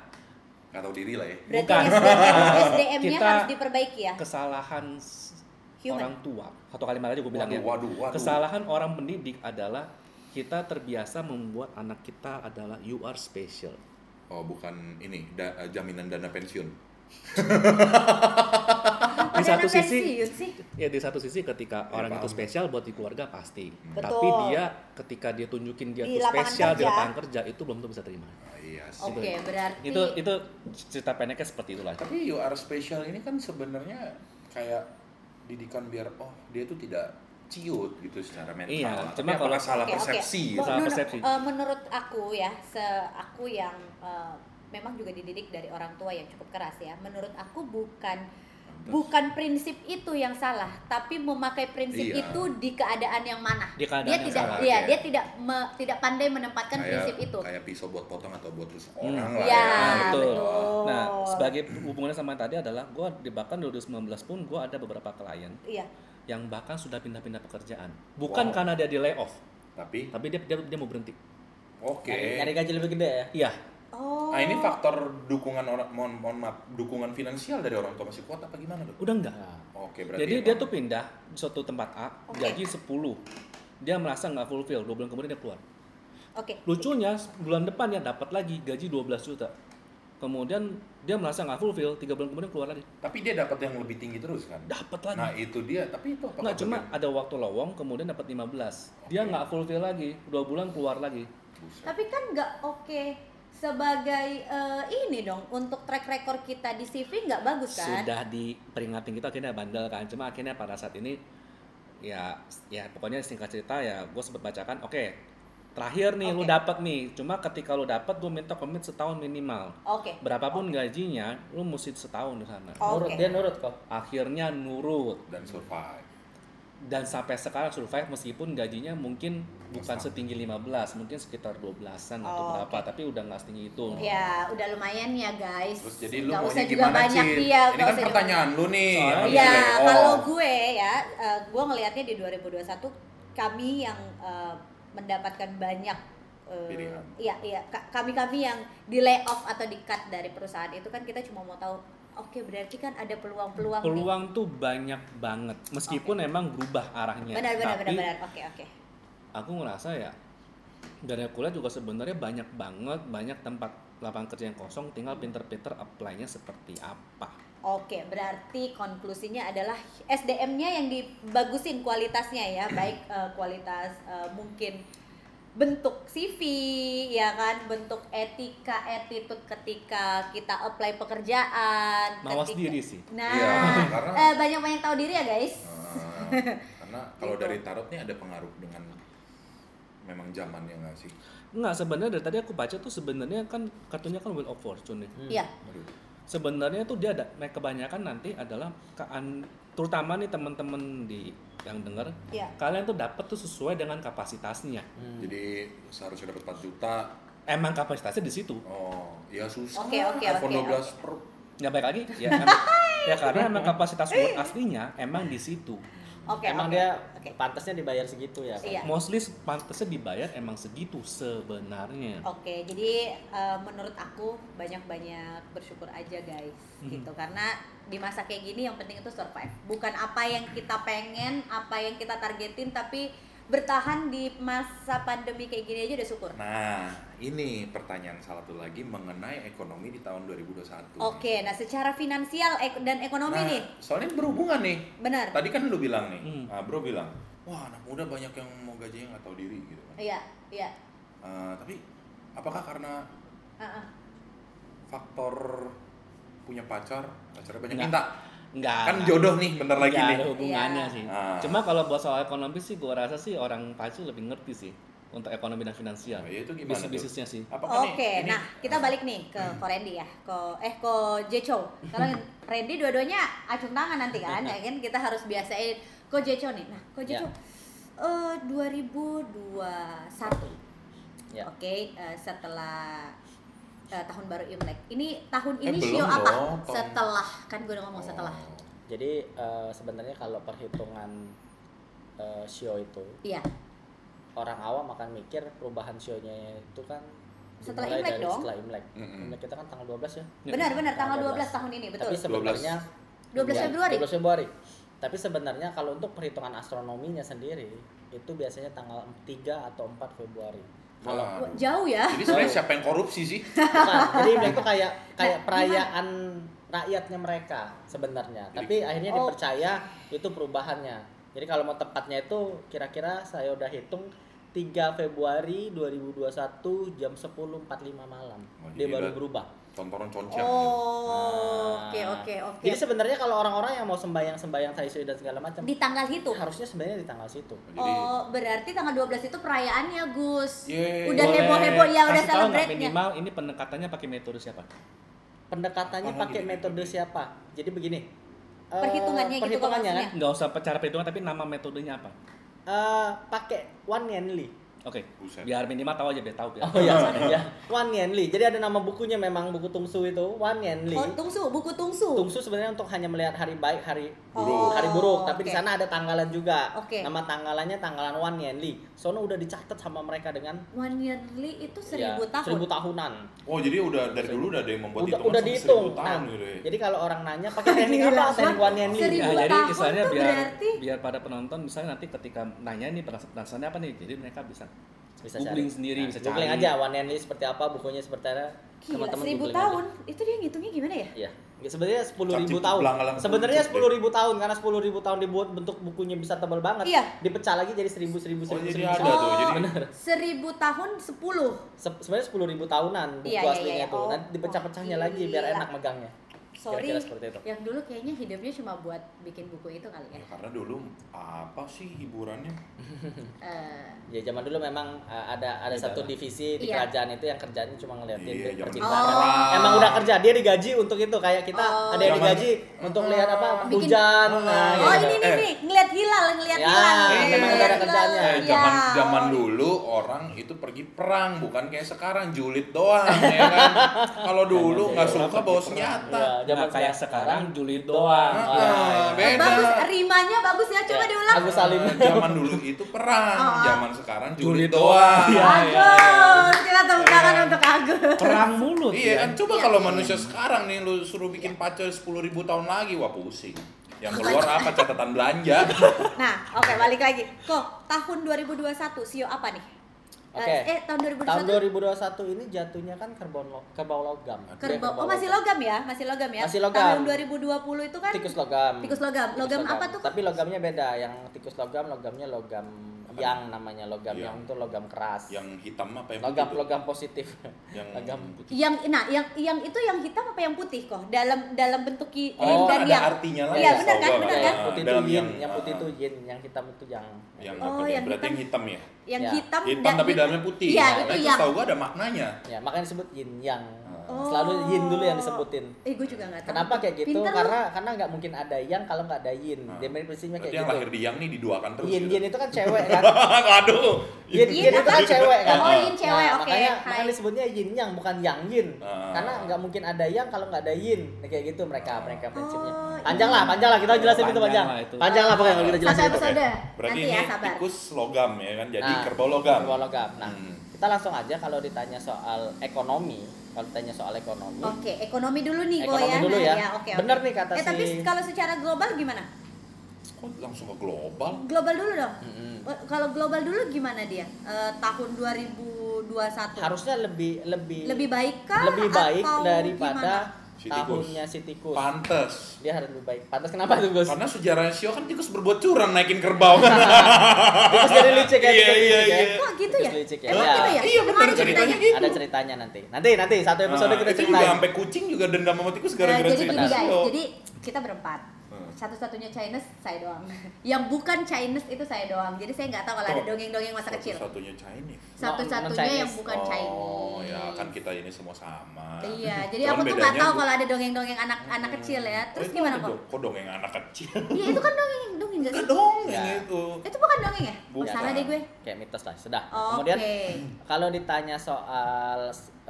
nggak tahu diri lah ya
Berarti
Bukan. <laughs>
SDM-nya
Kita-
harus diperbaiki ya.
kesalahan s-
Human.
orang tua. Satu kalimat aja gue bilang
waduh
ya.
waduh waduh
Kesalahan orang mendidik adalah kita terbiasa membuat anak kita adalah you are special.
oh bukan ini da- eh, jaminan dana pensiun
Apa
Di satu
dana
sisi-
pensiun sih?
Ya di satu sisi ketika
Ya,
orang itu
paham. Hmm.
spesial buat di keluarga pasti.
Betul.
Tapi dia ketika dia tunjukin dia
Di
tuh
lapangan
spesial di
kerja.
lapangan kerja itu belum tentu bisa terima.
Ah, iya
Oh,
sih
Oke, berarti
Itu itu cerita pendeknya seperti itulah.
Tapi you are special ini kan sebenarnya kayak didikan biar oh dia tuh tidak ciut gitu secara mental.
Iya,
Tapi
cuma
apakah
kalau-
salah
Oke, oke.
persepsi
Mau-
gitu.
Salah
menur-
persepsi.
eh, menurut aku ya, se aku yang eh, memang juga dididik dari orang tua yang cukup keras ya. Menurut aku bukan bukan prinsip itu yang salah, tapi memakai prinsip
Iya.
itu di keadaan yang mana.
Di keadaan
dia
yang
tidak
salah,
iya,
oke.
dia tidak me- tidak pandai menempatkan
Kayak-
prinsip itu.
Kayak pisau buat potong atau buat tusuk orang lah
Hmm.
Iya,
ya. gitu.
betul.
betul.
Nah, sebagai hubungannya sama tadi adalah gua di bahkan 2019 pun gua ada beberapa klien
Iya.
yang bahkan sudah pindah-pindah pekerjaan.
Wow.
Bukan karena dia di layoff,
Tapi
tapi dia dia, dia mau berhenti.
oke.
Nyari, nyari gaji lebih gede ya.
Iya,
Oh.
Nah, ini faktor dukungan orang mohon, mohon maaf, dukungan finansial dari orang tua masih kuat apa gimana, Dok?
udah enggak.
Oke, berarti
Jadi
emang-
dia tuh pindah di suatu tempat A,
Oke.
gaji 10. Dia merasa nggak fulfill, dua bulan kemudian dia keluar.
Oke.
Lucunya bulan depan ya dapat lagi gaji 12 juta. Kemudian dia merasa nggak fulfill, tiga bulan kemudian keluar lagi.
tapi dia dapat yang lebih tinggi terus kan?
Dapat lagi.
Nah, itu dia. Tapi itu apa?
Nggak cuma ada waktu lowong, kemudian dapat 15. Dia
Oke.
nggak fulfill lagi, dua bulan keluar lagi.
Tapi kan nggak oke sebagai eh, ini dong untuk track record kita di CV nggak bagus kan?
Sudah diperingatin kita akhirnya bandel kan. Cuma akhirnya pada saat ini ya ya pokoknya singkat cerita ya gue sempat bacakan, oke terakhir nih lu
Oke.
dapat nih. Cuma ketika lu dapat gue minta komit setahun minimal.
Oke. Oh.
Berapapun gajinya, lu mesti setahun di sana.
Oke.
Nurut dia nurut kok.
Akhirnya nurut
dan survive.
dan sampai sekarang survive meskipun gajinya mungkin bukan
Sama.
setinggi 15, mungkin sekitar 12-an atau
Oh,
berapa, tapi udah nggak setinggi itu.
Ya udah lumayan ya guys.
Terus jadi lu
Nggak
maunya
usah juga
gimana
banyak
Cid?
dia.
Ini kan pertanyaan lu nih. oh.
Soalnya-
habis
Iya,
layoff.
kalau gue ya, eh, gue ngelihatnya di 2021 kami yang eh, mendapatkan banyak eh,
Pilihan.
Iya, iya. Ka- Kami-kami yang di layoff atau di cut dari perusahaan itu kan kita cuma mau tahu, oke berarti kan ada peluang-peluang. nih.
Peluang tuh banyak banget, meskipun emang berubah arahnya.
Benar, benar,
tapi
benar, benar. Oke, oke.
aku ngerasa ya dari kuliah juga sebenarnya banyak banget banyak tempat lapangan kerja yang kosong, tinggal pinter-pinter apply-nya seperti apa.
Oke, berarti konklusinya adalah SDM-nya yang dibagusin kualitasnya ya,
<clears throat>
baik eh, kualitas eh, mungkin bentuk CV ya kan, bentuk etika attitude ketika kita apply pekerjaan.
Mawas
ketika-
diri sih.
Iya,
Nah,
karena
eh, banyak-banyak tahu diri ya guys.
Ah, <laughs> karena kalau
Gitu.
dari tarot nih ada pengaruh dengan memang zamannya nggak sih?
Enggak, sebenarnya dari tadi aku baca tuh sebenarnya kan kartunya kan Wheel of Fortune nih.
Hmm.
Iya.
Aduh.
sebenarnya tuh dia ada nah, kebanyakan nanti adalah kean terutama nih teman-teman di yang dengar
Iya.
kalian tuh dapat tuh sesuai dengan kapasitasnya
Hmm.
Jadi seharusnya dapat 4 juta.
emang kapasitasnya di situ
Oh, ya susah.
Oke, oke,
iPhone
oke,
12 Pro.
nggak baik lagi ya, em- ya karena emang kapasitas word aslinya emang di situ
Oke.
Emang
oke,
dia
Oke.
pantasnya dibayar segitu ya. Kak?
Iya.
Mostly pantasnya dibayar emang segitu sebenarnya.
Oke, jadi eh, menurut aku banyak-banyak bersyukur aja guys, gitu. Karena di masa kayak gini yang penting itu survive. Bukan apa yang kita pengen, apa yang kita targetin, tapi bertahan di masa pandemi kayak gini aja udah syukur.
Nah, ini pertanyaan satu lagi mengenai ekonomi di tahun 2021.
Oke, nah secara finansial ek- dan ekonomi
Nah,
nih,
Soalnya berhubungan nih.
benar.
Tadi kan lu bilang nih,
Hmm.
ah, bro bilang, wah anak muda banyak yang mau gajinya nggak tahu diri gitu kan.
Iya, iya.
Ah, tapi apakah karena
Ah, ah.
faktor punya pacar, pacarnya banyak
Nggak.
minta?
Enggak.
Kan jodoh nih, bentar lagi
Nggak
nih.
ada hubungannya
Iya.
sih.
Ah.
Cuma kalau buat soal ekonomi sih gua rasa sih orang Pacu lebih ngerti sih untuk ekonomi dan finansial.
Oh, ya itu gimana
Bisnis
tuh?
bisnisnya sih.
Apakah nih,
Oke,
ini- Hmm.
nah kita balik nih ke Korendi ya, ke eh ke Jecho. Kalau Randy dua-duanya acung tangan nanti kan,
<laughs>
ya kan kita harus biasain ke Jecho nih. Nah, ke Jecho
Ya.
eh 2021.
Ya.
Oke, eh, setelah eh, tahun baru Imlek. Ini tahun
Eh,
ini show
belum
apa?
dong, tahun-
Setelah kan gue udah ngomong setelah.
Oh.
Jadi eh, sebenarnya kalau perhitungan eh, sio itu
Iya.
orang awam akan mikir perubahan sionya itu kan
Setelah
dimulai
Imlek
dari
dong.
setelah Imlek.
Mm-mm.
Imlek kita kan tanggal 12 ya.
Benar,
Iya.
benar tanggal
Tanggal
12 tahun ini, betul.
Tapi sebenarnya
12
ya,
Iya,
Februari.
12 Februari. Tapi sebenarnya kalau untuk perhitungan astronominya sendiri itu biasanya tanggal 3 atau 4
<laughs>
Februari. Kalau
Wah.
Wah, Jauh ya.
Ah, Jadi sebenarnya siapa yang korupsi
<laughs>
sih?
Bukan, jadi Imlek itu kayak kayak perayaan rakyatnya mereka sebenarnya. Tapi akhirnya
Oh.
dipercaya itu perubahannya. Jadi kalau mau tepatnya itu kira-kira saya udah hitung 3 Februari 2021 jam 10.45 malam.
Oh,
Dia
jadi
baru
udah-
berubah.
Tontonan concang.
Oh,
Nah.
oke oke oke.
Jadi sebenarnya kalau orang-orang yang mau sembayang-sembayang Taisui dan segala macam
Di tanggal
itu
itu.
harusnya sebenarnya di tanggal situ.
Jadi Iya.
Oh, berarti tanggal 12 itu perayaannya, Gus.
Yeay.
Udah
Boleh
heboh-heboh ya, udah
kasih tahu nggak
celebrate-nya.
Minimal ini pendekatannya pakai metode siapa?
Pendekatannya
Apa gitu? lagi
pakai
nih?
metode siapa? Jadi begini. eh,
Perhitungannya gitu kalau
perhitungannya kan
maksudnya.
Nggak usah cara perhitungan tapi nama metodenya apa?
eh, pakai one yenli.
Oke.
Buset.
Ya.
Biar minimal tahu aja biar tahu biar.
Oh iya, sorry, ya. Wan Yenli. Jadi ada nama bukunya memang buku Tungsu itu, Wan Yenli.
Oh, tungsu, buku tungsu.
Tungsu sebenarnya untuk hanya melihat hari baik, hari
Oh,
hari buruk, tapi di
oke.
sana ada tanggalan juga.
Oke.
Nama tanggalannya tanggalan Wan Yenli. Sono udah dicatat sama mereka dengan
One yearly itu seribu
ya,
tahun.
seribu tahunan.
Oh jadi udah dari dulu udah ada yang membuat
udah
hitungan
udah
sampai
dihitung.
1000 tahun
Nah,
gitu ya.
Jadi kalau orang nanya pakai teknik apa?
Gila,
Teknik
Wan.
Wan Yenli.
Seribu
Ya, jadi
tahun
misalnya
tuh
biar
berarti.
biar pada penonton misalnya nanti ketika nanya nih penas- penasarannya apa nih, jadi mereka bisa
Bisa
googling
cari.
sendiri,
Nah,
bisa cari.
googling aja Wan Yenli seperti apa, bukunya seperti apa.
Gila,
Teman-teman
Iya, seribu
googling aja.
tahun. Itu dia ngitungnya gimana ya?
Iya. Ya, sebenarnya 10.000
Cacing
tahun.
belang-belang
Sebenarnya
pun
10.000 tahun karena 10.000 tahun dibuat bentuk bukunya bisa tebal banget.
Iya.
Dipecah lagi jadi 1.000 1.000
Oh,
1.000.
jadi
1000.
ada tuh. Jadi
seribu tahun sepuluh.
Se- Sebenarnya 10.000 tahunan buku
Iya, iya,
aslinya
iya.
tuh.
Oh.
Nanti dipecah-pecahnya lagi biar
Gila.
enak megangnya.
Sorry,
Kira-kira seperti itu.
yang dulu kayaknya hidupnya cuma buat bikin buku itu kali ya.
Ya, karena dulu apa sih hiburannya? Ah,
Eh,
Ya zaman dulu memang uh, ada ada
Beda
satu
lah.
divisi di
Iya.
kerajaan itu yang kerjaannya cuma ngeliatin
Iya, zaman
Ya, percintaan.
dulu.
Oh.
Emang udah kerja, dia digaji untuk itu kayak kita
Oh.
ada yang
Zaman-
digaji untuk lihat apa
Bikin-
hujan. Nah,
oh
gitu.
ini nih
Eh.
nih ngeliat hilal, ngeliat
Ya,
hilal.
memang
Ngeliat
ada kerjaannya.
hilal.
Eh,
Ya.
zaman zaman dulu orang itu pergi perang bukan kayak sekarang julid doang ya kan. Kalau dulu nggak suka bawa senjata.
Iya,
Jangan Nah, kayak sekarang julid doang.
Ah,
Iya,
ah,
iya.
beda.
Bagus, rimanya bagus ya. Coba
Iya.
diulang.
Agus Salim.
Eh, zaman dulu itu perang, zaman sekarang julid
Julid doang.
doang.
Iya.
Agus, kita tepuk tangan
Ya.
untuk Agus.
Perang mulut.
Iya
ya.
kan, coba kalau manusia sekarang nih lu suruh bikin pacar 10.000 tahun lagi, wah pusing. Yang keluar apa catatan belanja?
Nah, oke balik lagi. Kok tahun 2021 sio E apa nih? Eh,
Oke.
Eh, tahun 2021
Tahun 2021 ini jatuhnya kan kerbau lo, kerbau logam.
kerbau. Oh, masih logam ya? Masih logam ya?
Masih logam.
Tahun 2020 itu kan
Tikus logam.
Tikus logam. Logam apa tuh?
Tapi logamnya beda. Yang tikus logam, logamnya logam yang namanya logam
Yang.
yang, itu logam keras.
Yang hitam apa yang
logam
putih tuh?
logam positif.
Yang
logam.
putih.
yang nah yang yang itu yang hitam apa yang putih kok dalam dalam bentuk ki- yin
Oh,
dan
ada
yang
artinya lagi.
iya benar kan
Tahu
benar kan
gua,
Yang putih itu
Dalam
yin, yang,
yang-
putih
ah.
itu yin, yang hitam itu yang.
Yang
Oh,
apa dia?
yang
Berarti
hitam.
yang hitam ya?
yang
Ya.
hitam
Hitam tapi dalamnya putih.
iya
Nah,
itu
itu
yang
tahu gua ada maknanya.
Ya, makanya disebut yin yang.
Ah.
Oh.
Selalu yin dulu yang disebutin.
Eh, gue juga nggak tahu.
Kenapa kayak gitu?
Pinter lu.
Karena karena nggak mungkin ada yang kalau nggak ada yin.
Hmm.
Dia mirip prinsipnya
Berarti
kayak
yang lahir
gitu.
di yang nih diduakan terus.
Yin
gitu. <laughs>
yin itu kan cewek kan.
Aduh.
Yin
Yin
yin itu kan
apa?
cewek kan.
Oh, yin cewek,
Nah,
oke.
Makanya,
Hai.
makanya disebutnya yin yang bukan yang yin.
Ah.
Karena nggak mungkin ada yang kalau nggak ada yin. Nah, kayak gitu mereka
Ah.
mereka prinsipnya.
Oh,
Panjang
yin.
lah, panjang lah kita jelasin itu
Panjang
panjang.
lah itu.
Panjang lah pokoknya kalau kita jelasin
Satu
itu.
episode. Episode.
Berarti
Nanti
ini
ya, sabar.
tikus logam ya kan, jadi
Nah,
kerbau logam.
kerbau logam. Nah,
Hmm.
kita langsung aja kalau ditanya soal ekonomi, kalau ditanya soal ekonomi,
Oke, ekonomi dulu nih gue
Ekonomi
ya.
dulu ya.
oke, oke.
Bener nih kata
eh, tapi
si-
kalau secara global gimana?
Kok langsung ke global?
Global dulu dong.
Mm-mm.
Eh, Kalau global dulu gimana dia? Eh, tahun 2021.
harusnya lebih lebih
lebih baik kah?
lebih baik
atau
daripada
Si tikus.
tahunnya si tikus.
Pantes.
Dia harus lebih baik. Pantas kenapa tuh Gus? Nah,
Karena sejarah Sio kan tikus berbuat curang naikin kerbau kan.
Tikus jadi licik ya.
Iya,
tikus
iya,
licik ya.
iya.
gimana? Kok gitu ya?
Terus licik ya.
Emang
Ya.
gitu ya?
Iya,
Emang
bener
ada
ceritanya
ceritanya?
gitu.
Ada ceritanya nanti. Nanti nanti satu episode
<laughs> Nah,
kita
itu juga
ceritain.
sampai kucing juga dendam sama tikus
Eh,
gara-gara
jadi
cerita
gini guys,
Sio.
jadi kita berempat.
Hmm.
Satu-satunya Chinese saya doang. <laughs> Yang bukan Chinese itu saya doang. Jadi saya nggak tahu kalau ada
Oh.
dongeng-dongeng masa kecil.
Satunya Chinese.
Satu-satunya yang
Non-Chinese.
bukan Chinese.
Oh, ya kan kita ini semua sama. <laughs>
Iya, jadi
Cuman
aku tuh nggak
bedanya
tahu
bu-
kalau ada dongeng-dongeng anak-anak kecil ya. Terus
Oh, itu
gimana
apa
kok?
tuh? Kok dongeng anak kecil? <laughs>
Iya itu kan dongeng, dongeng nggak
Enggak
sih?
dong,
Ya.
yang itu.
Itu bukan dongeng ya? Oh,
Bukan.
salah deh gue.
Kayak mitos lah, sudah.
Oke.
Kemudian eh, kalau ditanya soal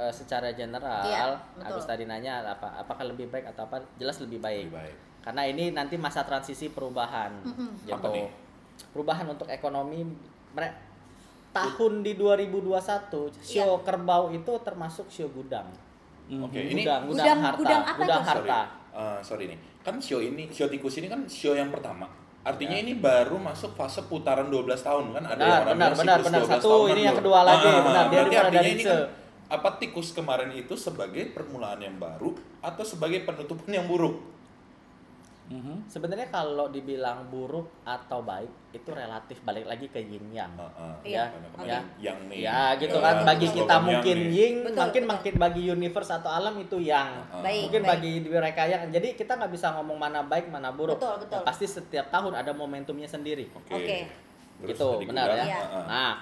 eh, secara general,
Iya, betul.
Agus tadi nanya apa apakah lebih baik atau apa? Jelas lebih baik.
Lebih baik.
Karena ini nanti masa transisi perubahan.
Mm-mm.
gitu.
Apa nih?
Perubahan untuk ekonomi mere- tahun di 2021 sio
Iya.
kerbau itu termasuk sio gudang.
Oke, ini
Gudang, gudang,
Gudang-
harta.
gudang apa
gudang
itu?
sorry.
Mhm. harta.
Eh, sorry nih. Kan show ini, show tikus ini kan show yang pertama. Artinya
Ya.
ini baru masuk fase putaran 12 tahun kan ada
Benar,
yang orang
benar,
bilang
benar,
siklus
benar.
12
Satu,
tahunan
ini yang
loh.
kedua lagi,
kan Ah,
benar. Dia
berarti
dimulai
artinya
dari
ini
se.
kan apa tikus kemarin itu sebagai permulaan yang baru atau sebagai penutupan yang buruk?
Mhm.
Sebenarnya kalau dibilang buruk atau baik itu relatif balik lagi ke yin yang.
Ah, ah.
Iya,
Banyak
oke.
yang- yang nih.
Ya gitu
Ya,
kan bagi
terus
kita
logam yang
mungkin
nih.
yin,
Iya, Betul,
mungkin
betul.
makin bagi universe atau alam itu yang.
Ah,
Baik.
mungkin bagi mereka yang jadi kita nggak bisa ngomong mana baik mana buruk
Betul, betul.
Nah, pasti setiap tahun ada momentumnya sendiri
Oke.
Oke.
Terus
gitu
tadi
benar
gudang,
ya
Iya.
ah, ah.
nah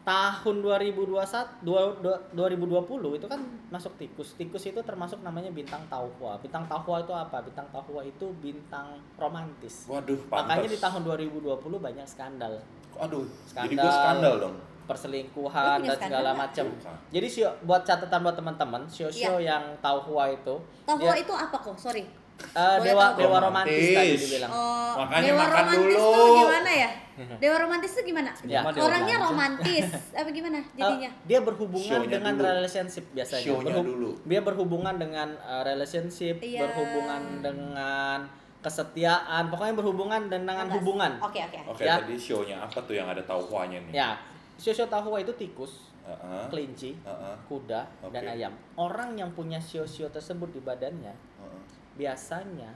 tahun 2021 dua- dua- 2020 itu kan masuk tikus tikus itu termasuk namanya bintang tauhua bintang tauhua itu apa bintang tauhua itu bintang romantis
Waduh,
makanya
pantas.
di tahun 2020 banyak skandal
Aduh, jadi
Skandal.
gue skandal dong.
Lu
perselingkuhan
punya
dan segala
skandal nggak?
macam
Bukan.
jadi sio buat catatan buat teman-teman sio sio yang tauhua itu
Tahua
dia-
itu apa kok? Sorry.
eh,
Boleh
dewa
tahu?
dewa romantis tadi
Romantis.
dibilang
Oh,
Makanya
dewa
makan
romantis
dulu.
tuh gimana
<laughs>
ya? Dewa romantis tuh gimana?
Ya.
Cuma dia
Orangnya
belanja.
<laughs>
romantis, apa gimana jadinya?
Eh, dia berhubungan
Show-nya
dengan
dulu.
relationship biasanya.
Show-nya
Berhub-
dulu.
Dia berhubungan dengan eh, relationship,
Iya.
berhubungan dengan kesetiaan, pokoknya berhubungan dan dengan
Enggak.
hubungan.
Oke, oke.
Oke,
Ya.
tadi show-nya apa tuh yang ada tauhuanya nih?
Ya, shosho tahua itu tikus,
Heeh.
kelinci,
Heeh.
kuda, dan
Oke.
ayam. Orang yang punya shosho tersebut di badannya
heeh.
biasanya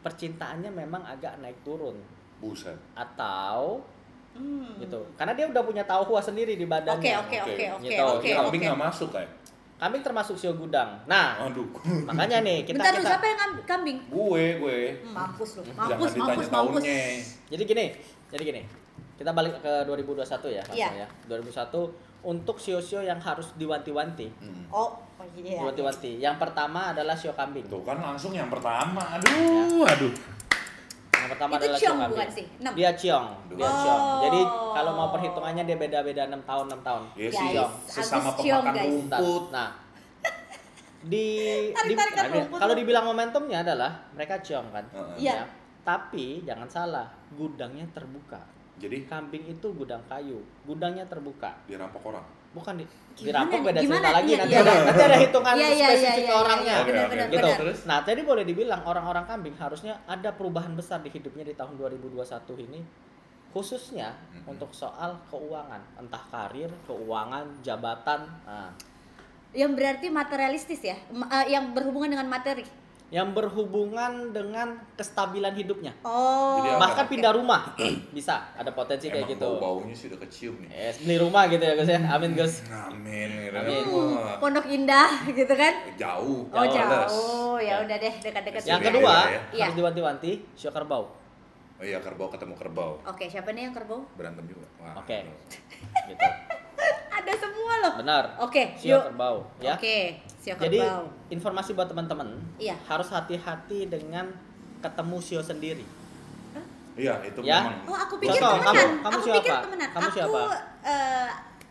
percintaannya memang agak naik turun
Buset.
atau
Hmm.
gitu. Karena dia udah punya tahua sendiri di badannya.
Oke, oke, oke, oke,
Gitu.
oke,
Kita
Kambing
oke.
nggak masuk kayak.
Kambing termasuk shio gudang. Nah,
Aduh.
makanya nih kita
Bentar dulu,
kita
siapa yang amb- kambing?
gue, gue.
Hmm, Mampus lu,
Jangan
mampus,
ditanya
mampus, mampus.
tahunnya.
Jadi gini, jadi gini. Kita balik ke 2021 ya, langsung
Iya.
ya. 2001 untuk sio-sio yang harus diwanti-wanti.
Hmm.
Oh, oh iya.
Diwanti-wanti. Yang pertama adalah sio kambing.
Tuh kan langsung yang pertama. Aduh, aduh.
Yang pertama
Itu
adalah sio
ciong
kambing.
bukan sih? Iya, Enam.
Dia ciong, dia
Oh.
ciong. Jadi kalau mau perhitungannya dia beda-beda 6 tahun, 6 tahun.
Iya
Guys,
sih, sesama
Agus ciong,
pemakan
guys.
Bentar.
rumput.
Nah,
<laughs>
di,
Tarik,
di-
tarik, tarik,
nah, ini-
rumput.
kalau dibilang momentumnya adalah mereka ciong kan.
Heeh.
Iya.
Ya. Tapi jangan salah, gudangnya terbuka.
Jadi
Kambing itu gudang kayu, gudangnya terbuka.
dirampok orang.
bukan di
Gimana
dirampok
nih?
beda
Gimana?
cerita lagi
Iya,
nanti
iya.
ada nanti ada hitungan
Iya, iya, iya,
spesifik
iya.
orangnya
iya, Benar,
Oke,
benar,
oke.
gitu
benar.
Terus?
nah jadi boleh dibilang orang-orang kambing harusnya ada perubahan besar di hidupnya di tahun 2021 ini khususnya
Mhm.
untuk soal keuangan entah karir keuangan jabatan nah,
Yang berarti materialistis ya, Ma- eh, yang berhubungan dengan materi.
yang berhubungan dengan kestabilan hidupnya
Oh.
Jadi apa?
bahkan
oke.
pindah rumah <clears throat> bisa ada potensi kayak
Iya, Emang
gitu
bau-baunya sih udah kecium nih.
Eh, beli rumah gitu ya Gus ya amin Gus
Amin. gitu.
Amin.
Wah,
Pondok Indah gitu kan?
Jauh.
Oh
males.
jauh, ya udah deh dekat-dekat.
Iya,
Ya yang
sini.
kedua
iya,
iya.
harus diwanti-wanti sio kerbau
Oh iya, kerbau ketemu kerbau.
Oke, siapa nih yang kerbau?
Berantem juga. Wah,
Oke.
aduh.
gitu
Ada semua loh.
Benar.
<laughs> Oke,
Sio
yuk.
kerbau ya.
Oke, siap
Jadi
kerbau.
informasi buat teman-teman,
Iya.
harus hati-hati dengan ketemu sio sendiri.
Iya, itu
Ya.
Oh,
memang.
aku pikir
Contoh,
temenan.
kamu- kamu
aku
siapa?
pikir temenan.
Kamu
aku
siapa?
eh,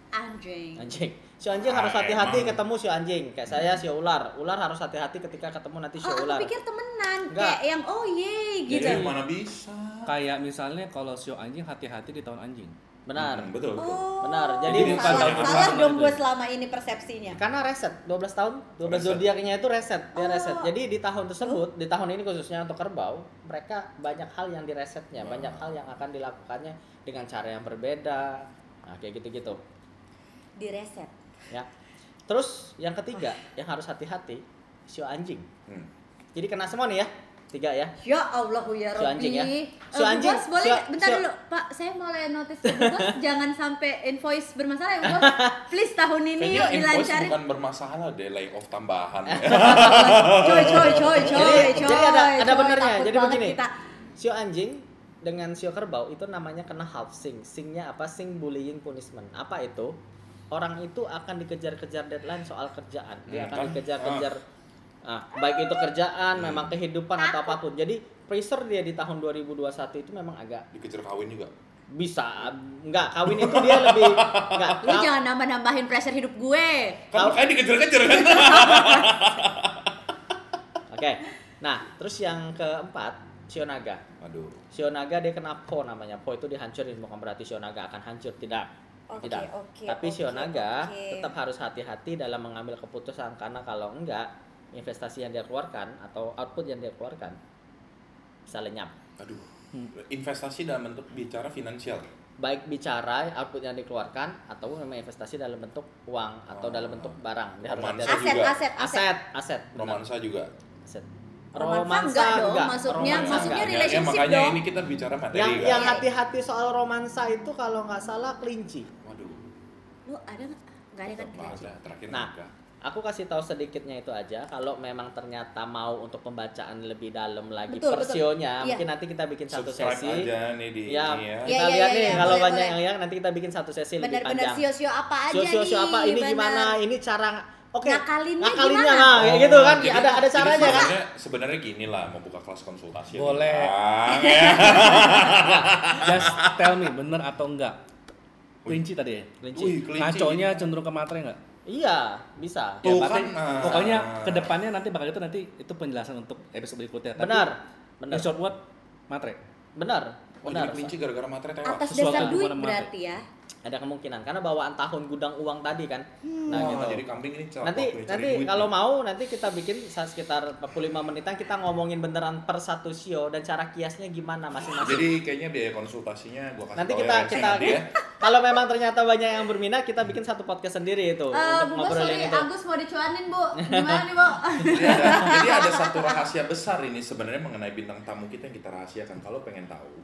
anjing.
Anjing. Sio anjing
Ah,
harus hati-hati
emang.
ketemu sio anjing. Kayak saya sio ular. Ular harus hati-hati ketika ketemu nanti sio
Oh, aku
ular.
pikir temenan
Enggak.
kayak yang oh yeay
Jadi
gitu.
mana bisa?
Kayak misalnya kalau sio anjing hati-hati di tahun anjing.
Hmm,
Benar.
betul, betul.
Oh,
Benar, jadi
bukan
salah,
temenan.
salah dong
Temenan
gue
itu.
selama ini persepsinya.
Ya, Karena reset 12 tahun, 12
Reset.
zodiaknya itu reset, dia
Oh.
reset. Jadi di tahun tersebut, di tahun ini khususnya untuk kerbau, mereka banyak hal yang diresetnya,
Wow.
banyak hal yang akan dilakukannya dengan cara yang berbeda. Nah, kayak gitu-gitu,
Di reset.
ya. Terus yang ketiga, yang harus hati-hati, sio anjing.
Hmm.
Jadi kena semua nih ya. Tiga ya.
Ya Allah ya
Si
Rabbi.
anjing ya.
Eh,
Si
Bu
anjing,
Bos, boleh
si-
nggak? bentar
si-
dulu. Pak, saya mulai notice Bu Bos jangan sampai invoice bermasalah ya Bu Bos. Please tahun ini
Kayaknya
yuk
invoice
dilancarin.
bukan bermasalah deh, layoff
<laughs>
tambahan.
Coy coy coy coy
Jadi-
coy.
jadi ada- ada
coy,
benernya.
takut
Jadi
banget
begini.
Kita.
Sio anjing dengan sio kerbau itu namanya kena half sing. Singnya apa? Sing bullying punishment. Apa itu? Orang itu akan dikejar-kejar deadline soal kerjaan.
Hmm,
Dia akan
kan?
dikejar-kejar ah, baik itu kerjaan, memang kehidupan atau apapun. Jadi pressure dia di tahun 2021 itu memang agak
Dikejar kawin juga.
bisa enggak kawin itu dia lebih enggak
Lu jangan nambah-nambahin pressure hidup gue.
Kan
Kau-
makanya dikejar-kejar kan?
Oke. Nah, terus yang keempat, sio naga.
Aduh.
Sionaga dia kena Po namanya. Po itu dihancurin bukan berarti Sionaga akan hancur tidak.
Oke,
tidak.
oke,
Tapi
oke,
Sionaga
oke.
tetap harus hati-hati dalam mengambil keputusan karena kalau enggak investasi yang dia keluarkan atau output yang dia keluarkan bisa lenyap.
Aduh. Investasi dalam bentuk bicara finansial.
Baik bicara output yang dikeluarkan atau memang investasi dalam bentuk uang atau
Oh.
dalam bentuk barang. Dia harus
Romansa
hati-hati.
Aset,
juga.
aset, aset.
aset, aset, benar.
Romansa juga.
aset.
Romansa enggak dong, maksudnya-
Romansa
maksudnya
enggak.
Ya, ya,
relationship
makanya
dong.
ini kita bicara materi
yang
kan.
yang hati-hati soal romansa itu kalau nggak salah kelinci.
Waduh.
Lu ada nggak? Nggak ada kan?
tetap ada. Terakhir
Nah.
naga.
Aku kasih tahu sedikitnya itu aja. Kalau memang ternyata mau untuk pembacaan lebih dalam lagi
Betul,
persionya,
betul.
mungkin nanti kita bikin satu
Subscribe
sesi.
aja nih di
Ya,
ini ya.
kita
Iya, iya,
lihat
iya,
nih
iya.
kalau
Boleh,
banyak
boleh.
yang nanti kita bikin satu sesi lebih
Bener-bener
panjang.
sio-sio apa aja
Sio-sio
nih?
apa ini
bener.
gimana? Ini cara oke.
Ngakalinnya
ngakalinnya,
gimana?
nah, kayak gitu
Oh,
kan
Jadi-
ada ada
jadi
caranya kan.
sebenarnya, sebenarnya gini lah mau buka kelas konsultasi
Boleh.
Bang, ya.
Just tell me bener atau enggak. Kelinci tadi ya.
Kelinci.
Wih, kelinci.
Ngaconya cenderung ke materai enggak?
Iya, bisa.
Tuh
ya, berarti
kan, nah.
pokoknya kedepannya nanti bakal itu nanti itu penjelasan untuk episode berikutnya. Tapi,
Benar.
In
Benar.
short word, materai.
Benar.
Oh, jadi
<laughs> Benar.
kelinci gara-gara materai tewas.
Atas
Sesuatu
dasar
yang
duit
bukan
berarti ya.
Ada kemungkinan karena bawaan tahun gudang uang tadi kan.
Hmm.
Nah,
Wah,
gitu.
Oh, Jadi kambing ini cakep
nanti
nih, cari
nanti
duit
kalau
nih.
mau nanti kita bikin sa- sekitar 45 menitan kita ngomongin beneran per satu sio dan cara kiasnya gimana masing-masing.
Jadi kayaknya biaya konsultasinya gua kasih
Nanti
tau
kita
ya, Rensi,
kita
nanti ya.
<laughs> kalau memang ternyata banyak yang berminat kita bikin satu podcast sendiri itu
Eh, Bu
untuk
Bos, sorry,
ngobrolin itu. Gitu.
Agus mau dicuanin, Bu. Gimana nih, Bu?
Jadi ada, jadi ada satu rahasia besar ini sebenarnya mengenai bintang tamu kita yang kita rahasiakan kalau pengen tahu.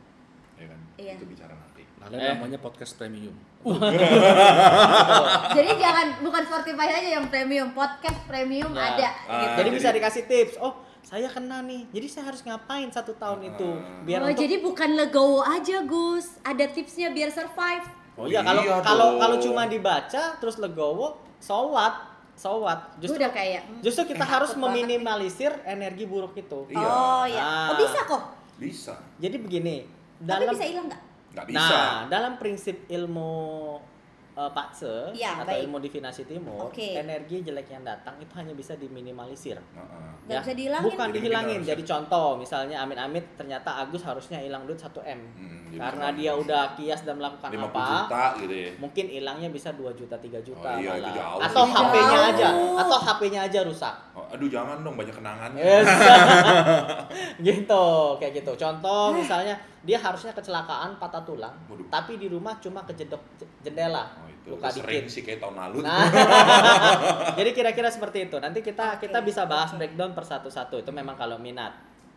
Ya kan?
Iya.
Itu bicara nanti.
Lalu
Eh.
namanya podcast premium.
Ah,
Jadi jangan bukan Spotify aja yang premium, podcast premium
Ya.
ada
Ah,
gitu.
Jadi
jadi-
bisa dikasih tips. Oh, saya kena nih. Jadi saya harus ngapain satu tahun itu
Ah.
biar
Oh,
untuk
jadi bukan legowo aja, Gus. Ada tipsnya biar survive.
Oh iya kalau kalau
dong.
kalau cuma dibaca terus legowo, sowat, sowat.
Gue
Justru
udah kayak hmm.
justru kita
Eh,
harus
takut banget
meminimalisir energi buruk itu.
Iya.
Oh iya. Oh
Ah.
bisa kok.
bisa.
Jadi begini,
Tapi
dalam
bisa hilang nggak?
Nggak bisa.
Nah, dalam prinsip ilmu eh, Pakse
Ya,
atau
baik.
ilmu divinasi timur,
Oke.
energi jelek yang datang itu hanya bisa diminimalisir. Ya.
Heeh.
Nggak bisa dihilangin.
Bukan
Jadi
dihilangin.
minimalisir.
Jadi contoh misalnya Amit-Amit ternyata Agus harusnya hilang duit 1 M.
Hmm, jadi
Karena
misalnya
dia udah kias dan melakukan
50
apa?
juta gitu ya.
Mungkin hilangnya bisa 2 juta, 3 juta
Oh iya, itu
malah.
jauh.
Atau
Itu
HP-nya
jauh.
aja, atau HP-nya aja rusak. <laughs>
Oh, aduh jangan dong banyak kenangan.
Yes. gitu, kayak gitu. Contoh misalnya dia harusnya kecelakaan patah tulang,
Waduh.
tapi di rumah cuma kejedok j- jendela,
Oh, itu
luka
sering
dikit.
sih kayak tahun lalu.
Nah,
<laughs>
jadi Nah. kira-kira seperti itu. Nanti kita kita
Oke,
bisa bahas
oke.
breakdown per satu-satu. Itu memang kalau minat.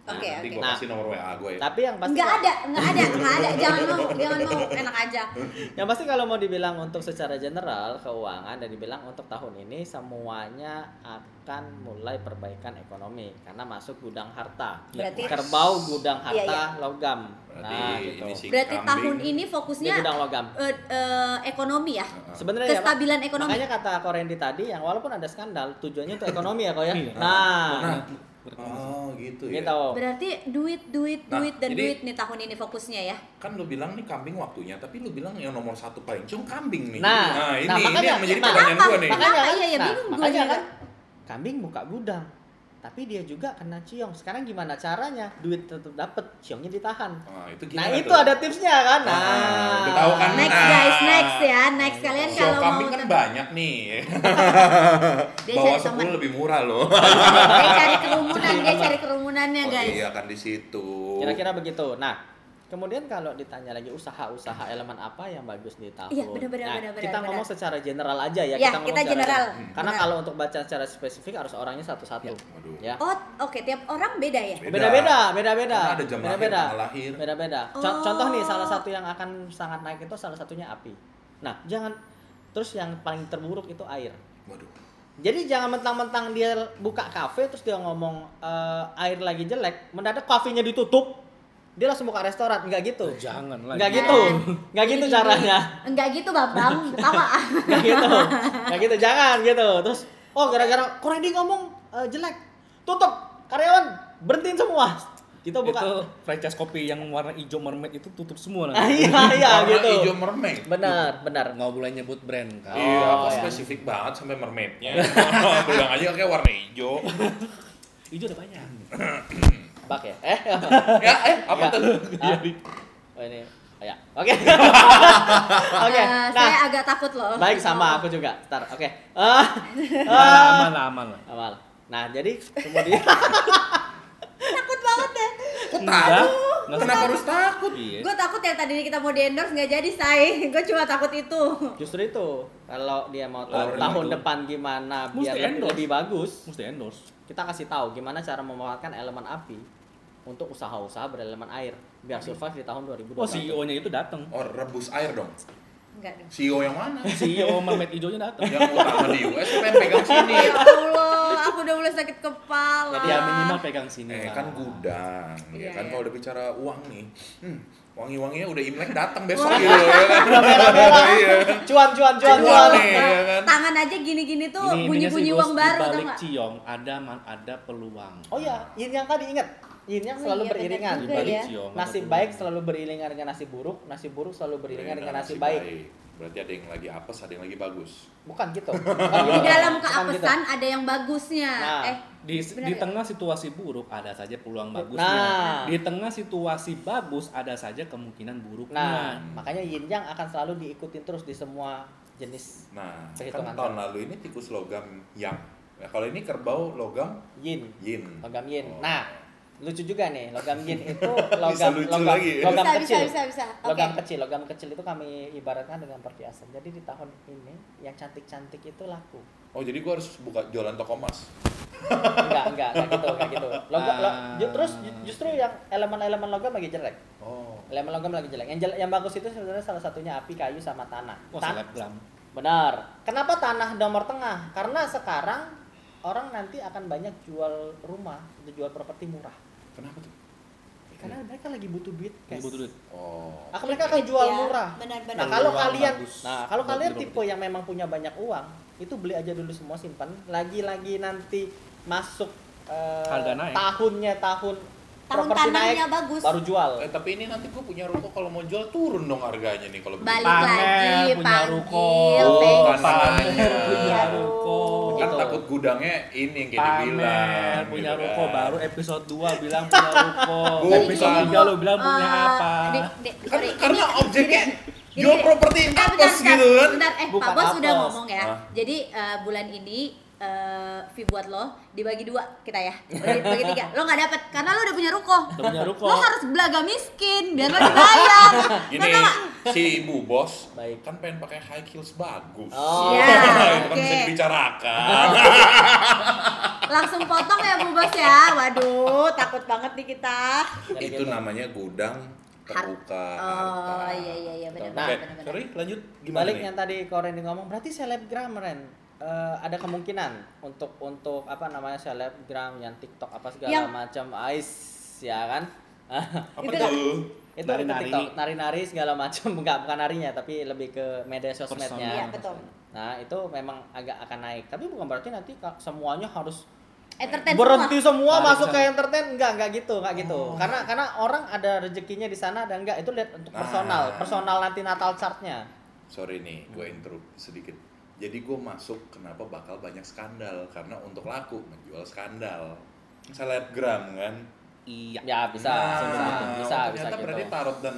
Oke,
Nanti
oke.
gue
Nah.
kasih nomor WA gue ya.
Tapi yang pasti
Nggak ada, nggak ada, nggak ada.
<laughs>
Jangan mau, jangan mau. Enak aja.
yang pasti kalau mau dibilang untuk secara general keuangan dan dibilang untuk tahun ini semuanya akan mulai perbaikan ekonomi karena masuk gudang harta
Berarti-
kerbau gudang harta
Iya, iya.
logam
Berarti
gitu
ini sih
Berarti
kambing.
tahun ini
Ini
fokusnya
gudang logam
eh, eh, ekonomi ya,
Heeh.
sebenarnya ya Pak,
kestabilan ekonomi.
makanya kata Korendi tadi yang walaupun ada skandal tujuannya untuk ekonomi ya kok ya
Iya.
nah
Oh gitu ya.
gitu
Berarti duit, duit,
Nah,
duit dan
jadi-
duit nih tahun ini fokusnya ya.
Kan lu bilang nih kambing waktunya, tapi lu bilang yang nomor satu paling cium kambing nih.
Nah,
ini,
nah,
ini
makanya-
yang menjadi
nah,
pertanyaan
apa?
gue nih.
Makanya- Kenapa? Iya, iya,
nah,
bingung gua
makanya
juga.
kan kambing buka gudang tapi dia juga kena ciong sekarang gimana caranya duit tetap dapet ciongnya ditahan
Nah, itu
nah
gimana
itu
tuh?
ada tipsnya kan nah,
Ah, udah tahu kan?
Next
Ah.
guys, next ya. Next kalian
Show
kalau mau
kambing kan banyak nih.
Dia
Bawa
cari teman.
10 lebih murah loh.
<laughs>
dia cari kerumunan, dia cari kerumunannya
Oh,
guys.
iya kan di situ.
kira-kira begitu nah kemudian kalau ditanya lagi usaha-usaha elemen apa yang bagus di tahun
Iya, benar-benar,
Nah,
benar-benar,
kita ngomong
benar.
secara general aja ya,
Ya,
kita ngomong
kita
secara
general.
general. karena
Benar.
kalau untuk baca secara spesifik harus orangnya satu-satu
Waduh.
ya
Oh, oke tiap orang beda ya.
Beda.
beda-beda beda-beda
Karena Kan ada jam lahir,
beda-beda
tanggal lahir.
beda-beda Co-
Oh.
contoh nih salah satu yang akan sangat naik itu salah satunya api nah jangan terus yang paling terburuk itu air
Waduh.
jadi jangan mentang-mentang dia buka kafe terus dia ngomong eh, air lagi jelek mendadak kafenya ditutup dia langsung buka restoran nggak
Oh.
gitu
Jangan lah.
nggak
Jangan.
gitu nggak gitu
Ini-
caranya
Enggak Nah. gitu,
<laughs>
Babang. Sama.
<laughs> nggak gitu nggak gitu jangan gitu terus oh gara-gara Korendi ngomong eh, jelek tutup karyawan berhentiin semua kita buka
Itu franchise kopi yang warna hijau mermaid itu tutup semua
Ah,
nanti.
<laughs> iya iya
<laughs> Warna
gitu.
hijau mermaid.
Benar, benar.
Nggak boleh nyebut brand kan.
iya,
Oh,
kok
iya.
spesifik banget sampai mermaidnya. <laughs> Bilang aja kayak warna hijau.
Hijau ada banyak.
Bak ya. Eh. <laughs>
ya, eh, apa
Iya.
tuh?
Ah. Oh, ini. Oh, ya. Oke. Oke.
Eh,
Nah,
<laughs> saya agak takut loh.
baik sama aku juga. Ntar, oke. Ah.
Aman,
Ah.
aman lah, aman lah.
Amal. Nah, jadi kemudian
Takut banget ya. deh.
Kok
Enggak.
takut?
Nggak
Kenapa
usah.
harus takut?
Iya.
Gue takut yang tadinya kita mau di endorse nggak jadi, say. <laughs> Gue cuma takut itu.
justru itu kalau dia
Oh,
mau tahu
itu.
tahun depan gimana biar
Mesti
lebih,
endorse.
lebih bagus,
Mesti endorse.
kita kasih tahu gimana cara memanfaatkan elemen api untuk usaha-usaha berelemen air biar survive di tahun 2020.
Oh CEO-nya itu datang.
Oh, rebus air dong.
Enggak dong.
CEO yang mana?
CEO mermaid hijaunya
<laughs>
datang.
yang utama di US siapa yang pegang sini?
Ya Allah, aku udah mulai sakit kepala.
Ya minimal pegang sini.
Eh
lah.
kan gudang, ya
Iya,
kan
iya.
kalau udah bicara uang nih, hmm, wangi-wanginya udah Imlek datang besok gitu ya kan. <laughs> Iya.
Cuan cuan cuan
Aduh,
cuan.
nih, ya kan?
Tangan aja gini-gini tuh
Ini
bunyi-bunyi uang baru tau
balik
nggak?
ciong ada man- ada peluang.
iya.
Oh ya, yin yang tadi ingat. Yin yang
Oh
selalu
iya, benar
beriringan.
juga
Dibalik
ya.
ciong. ada
Nasib
peluang.
baik selalu beriringan dengan nasib buruk, nasib buruk selalu beriringan dengan nasib baik.
Berarti ada yang lagi apes, ada yang lagi bagus.
Bukan gitu.
Di dalam
Bukan gitu.
keapesan ada yang bagusnya.
Nah.
Eh,
Di,
Benar
di
ya?
tengah situasi buruk ada saja peluang bagusnya.
Nah.
Di tengah situasi bagus ada saja kemungkinan buruknya.
Nah, makanya yin yang akan selalu diikutin terus di semua jenis
Nah, kan
Perhitungan.
tahun lalu ini tikus logam yang. Nah, kalau ini kerbau logam
yin,
yin.
logam yin.
Oh.
Nah, lucu juga nih, logam yin itu
Bisa
logam
lucu
logam,
lagi ya.
logam
bisa, bisa,
kecil.
bisa, bisa. Oke.
Logam kecil, logam kecil itu kami ibaratkan dengan perhiasan. Jadi di tahun ini yang cantik-cantik itu laku.
Oh, jadi gua harus buka jualan toko emas.
enggak enggak enggak gitu enggak gitu logam lo, ju-
Ah.
terus ju- justru yang elemen-elemen logam lagi jelek
Oh.
elemen logam lagi jelek yang jelek, yang bagus itu sebenarnya salah satunya api kayu sama tanah
Oh,
Tan-
selebgram.
benar kenapa tanah nomor tengah karena sekarang orang nanti akan banyak jual rumah jual properti murah
Kenapa tuh?
karena mereka lagi butuh duit
Ini
guys.
Hmm. butuh duit.
Oh.
Akan- Ah, mereka kan- akan jual
Ya,
murah
Benar-benar.
nah kalau
Peluang
kalian
bagus.
nah kalau
Buat
kalian
beli
tipe
properti.
yang memang punya banyak uang itu beli aja dulu semua simpan lagi-lagi nanti masuk eh,
Harga naik.
tahunnya tahun
Tahun
properti
tanahnya bagus.
baru jual
Eh, tapi ini nanti gua punya ruko kalau mau jual turun dong harganya nih kalau begitu.
Balik
Panel,
lagi,
punya
panggil, Iya,
ruko. Oh,
thank
Bukan
you.
tanahnya.
punya
Aduh.
ruko.
Kan
Gitu.
takut gudangnya ini yang kayak dibilang.
Pamer, punya
gitu
ruko
kan.
baru episode 2 bilang punya ruko.
Gua
episode
bilang.
3 lo bilang punya
Eh,
apa?
Dek, Dek,
Kan,
sorry,
karena
ini-
objeknya
gini,
jual
gini.
properti
Bentar, bentar,
apes
bentar,
gitu kan.
Bentar, eh
Bukan
Pak Bos sudah
apes.
ngomong ya.
Ah.
Jadi eh, bulan ini eh fee buat lo dibagi dua kita ya bagi, bagi tiga lo nggak dapet karena lo udah punya ruko
Udah punya ruko.
lo harus belaga miskin biar lo dibayar
Gini, si ibu bos
Baik.
kan pengen pakai <laughs> high heels bagus.
Oh.
Ya,
itu kan bisa <laughs>
oke.
dibicarakan.
Langsung potong ya Bu Bos ya. Waduh, takut banget nih kita.
itu namanya gudang terbuka. harta.
Oh iya iya iya benar
Nah,
Oke,
benar benar.
sorry lanjut gimana
balik
nih?
yang tadi Koren ngomong berarti selebgram Ren Eh, ada kemungkinan untuk untuk apa namanya selebgram yang TikTok apa segala
Yang-
macam ais ya kan <laughs>
Apa
Itu
tuh?
itu ada di
Nari-nari.
TikTok nari-nari segala macam <laughs> enggak bukan narinya tapi lebih ke media
Ya.
sosmednya
Iya, betul.
nah itu memang agak akan naik tapi bukan berarti nanti ka- semuanya harus
Entertain
berhenti
semua.
semua
Nah,
Tarik
masuk ke
semua.
entertain enggak enggak gitu enggak gitu
Oh.
karena karena orang ada rezekinya di sana dan enggak itu lihat untuk personal
Ah.
personal nanti Natal chartnya
Sorry nih, gue intro sedikit. Jadi gue masuk kenapa bakal banyak skandal karena untuk laku menjual skandal. Selebgram kan.
Iya.
ya bisa bisa
Nah,
bisa bisa
ternyata
gitu
berarti tarot dan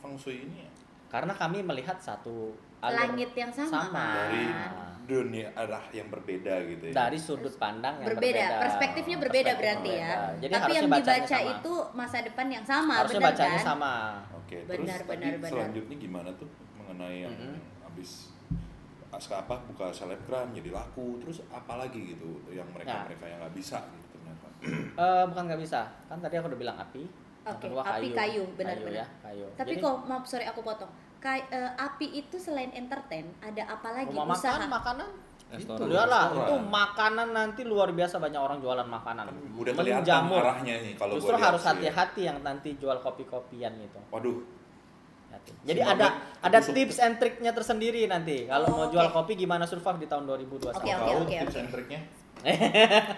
feng shui ini ya,
karena kami melihat satu alur
Langit yang sama.
Sama.
dari
Ah.
dunia arah yang berbeda gitu ya.
dari sudut pandang yang
Berbeda,
berbeda
perspektifnya berbeda
Perspektif
berarti ya.
berbeda. Jadi
Tapi
harusnya
yang
bacanya
dibaca
sama.
itu masa depan yang sama,
harusnya
benar
bacanya
kan?
sama
Oke,
Benar,
terus
benar,
tadi
benar.
selanjutnya gimana tuh mengenai yang habis abis apa buka selebgram jadi laku terus apalagi gitu yang mereka mereka yang nggak bisa gitu ternyata
Eh, bukan nggak bisa kan tadi aku udah bilang api yang
Oke,
kedua
api kayu, benar,
Kayu
benar.
ya, kayu.
Tapi
Jadi,
kok maaf sorry aku potong. Kai- eh, api itu selain entertain, ada apa lagi
rumah
usaha?
makan makanan
Restoran.
Gitu.
itu lah
Restoran.
itu makanan nanti luar biasa banyak orang jualan makanan
kan udah kelihatan
menjamur
arahnya nih kalau gua
justru
lihat
harus
sih. ya.
hati-hati yang nanti jual kopi-kopian gitu
waduh
Hati. Jadi
Semangat
ada ada
busuk.
tips and triknya tersendiri nanti. Kalau
Oh,
mau jual
oke.
kopi gimana survive di tahun 2021.
Oke,
tahu
oke,
tips and triknya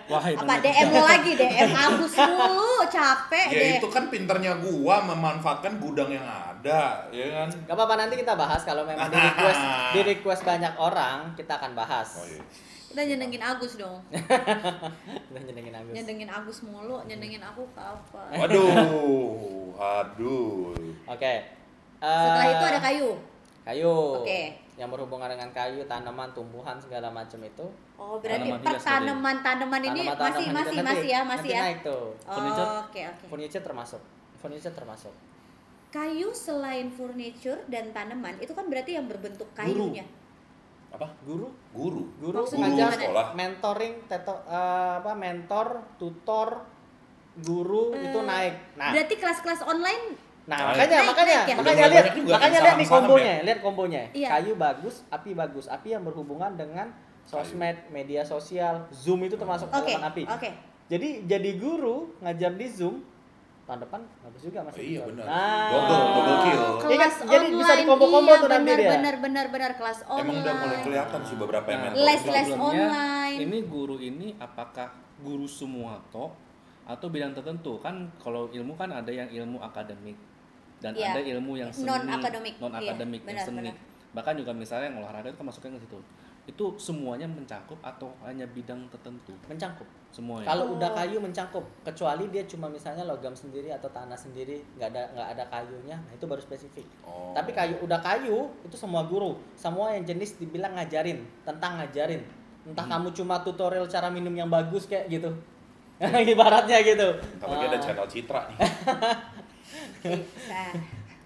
Wah, itu
Apa
nanti.
DM lo lagi
<laughs>
DM hapus dulu, capek Eh,
ya
deh.
itu kan pinternya gua memanfaatkan gudang yang ada ya kan
Gak apa-apa nanti kita bahas kalau memang di request
<laughs>
di request banyak orang kita akan bahas.
oh
<laughs>
iya
Kita nyenengin Agus dong.
Kita nyenengin Agus.
Nyenengin Agus mulu, nyenengin aku ke
Eh,
apa?
waduh aduh
Oke.
Setelah
Eh,
itu ada kayu.
kayu.
Oke.
Yang berhubungan dengan kayu, tanaman, tumbuhan segala macam itu.
Oh, berarti
Tanaman juga sebagai-
pertanaman-tanaman Kan ini
Tanaman-tanaman
masih
itu
masih
nanti-
masih ya, masih
nanti
ya.
Naik tuh.
Furniture?
Oh, Oke, oke.
Furniture termasuk. Furniture termasuk.
Kayu selain furniture dan tanaman itu kan berarti yang berbentuk
Guru.
kayunya.
apa
Guru,
guru
guru,
Maksudnya gimana?
ngajar,
sekolah.
mentoring, teto, eh, apa mentor, tutor, guru itu naik. Nah,
Hmm. Berarti kelas-kelas online
Nah,
Naik.
makanya
Naik, naik
makanya
ya?
makanya
Udah
lihat
banyak juga kan
makanya
yang
lihat nih
saham-saham
kombonya, lihat kombonya.
Iya.
Kayu bagus, api bagus, api yang berhubungan dengan sosmed, media sosial, Zoom itu termasuk
Oke.
elemen api.
Oke.
Jadi jadi guru ngajar di Zoom tahun depan bagus juga
Oh,
masih.
iya,
dijual.
benar.
Nah,
Double, double kill.
Iya kan? Jadi bisa dikombo-kombo
Oh, iya,
tuh nanti
benar,
dia.
Benar benar benar kelas online.
emang udah mulai kelihatan sih beberapa yang
Nah,
mentor
Oh, Les,
juga.
les.
Problemnya,
online.
Ini guru ini apakah guru semua toh atau bidang tertentu kan kalau ilmu kan ada yang ilmu akademik dan
Iya.
ada ilmu yang seni
Non-akademik.
non akademik
Iya,
yang
benar,
seni
benar.
bahkan juga misalnya yang olahraga itu kan masuknya ke situ itu semuanya mencakup atau hanya bidang tertentu
mencangkup.
semuanya
Kalau
Oh.
udah kayu mencangkup, kecuali dia cuma misalnya logam sendiri atau tanah sendiri, nggak ada nggak ada kayunya, nah itu baru spesifik.
Oh.
Tapi kayu udah kayu itu semua guru, semua yang jenis dibilang ngajarin, tentang ngajarin. Entah
Hmm.
kamu cuma tutorial cara minum yang bagus kayak gitu. <laughs> Ibaratnya gitu.
Bentar lagi ada channel Citra nih.
Oh.
Nah,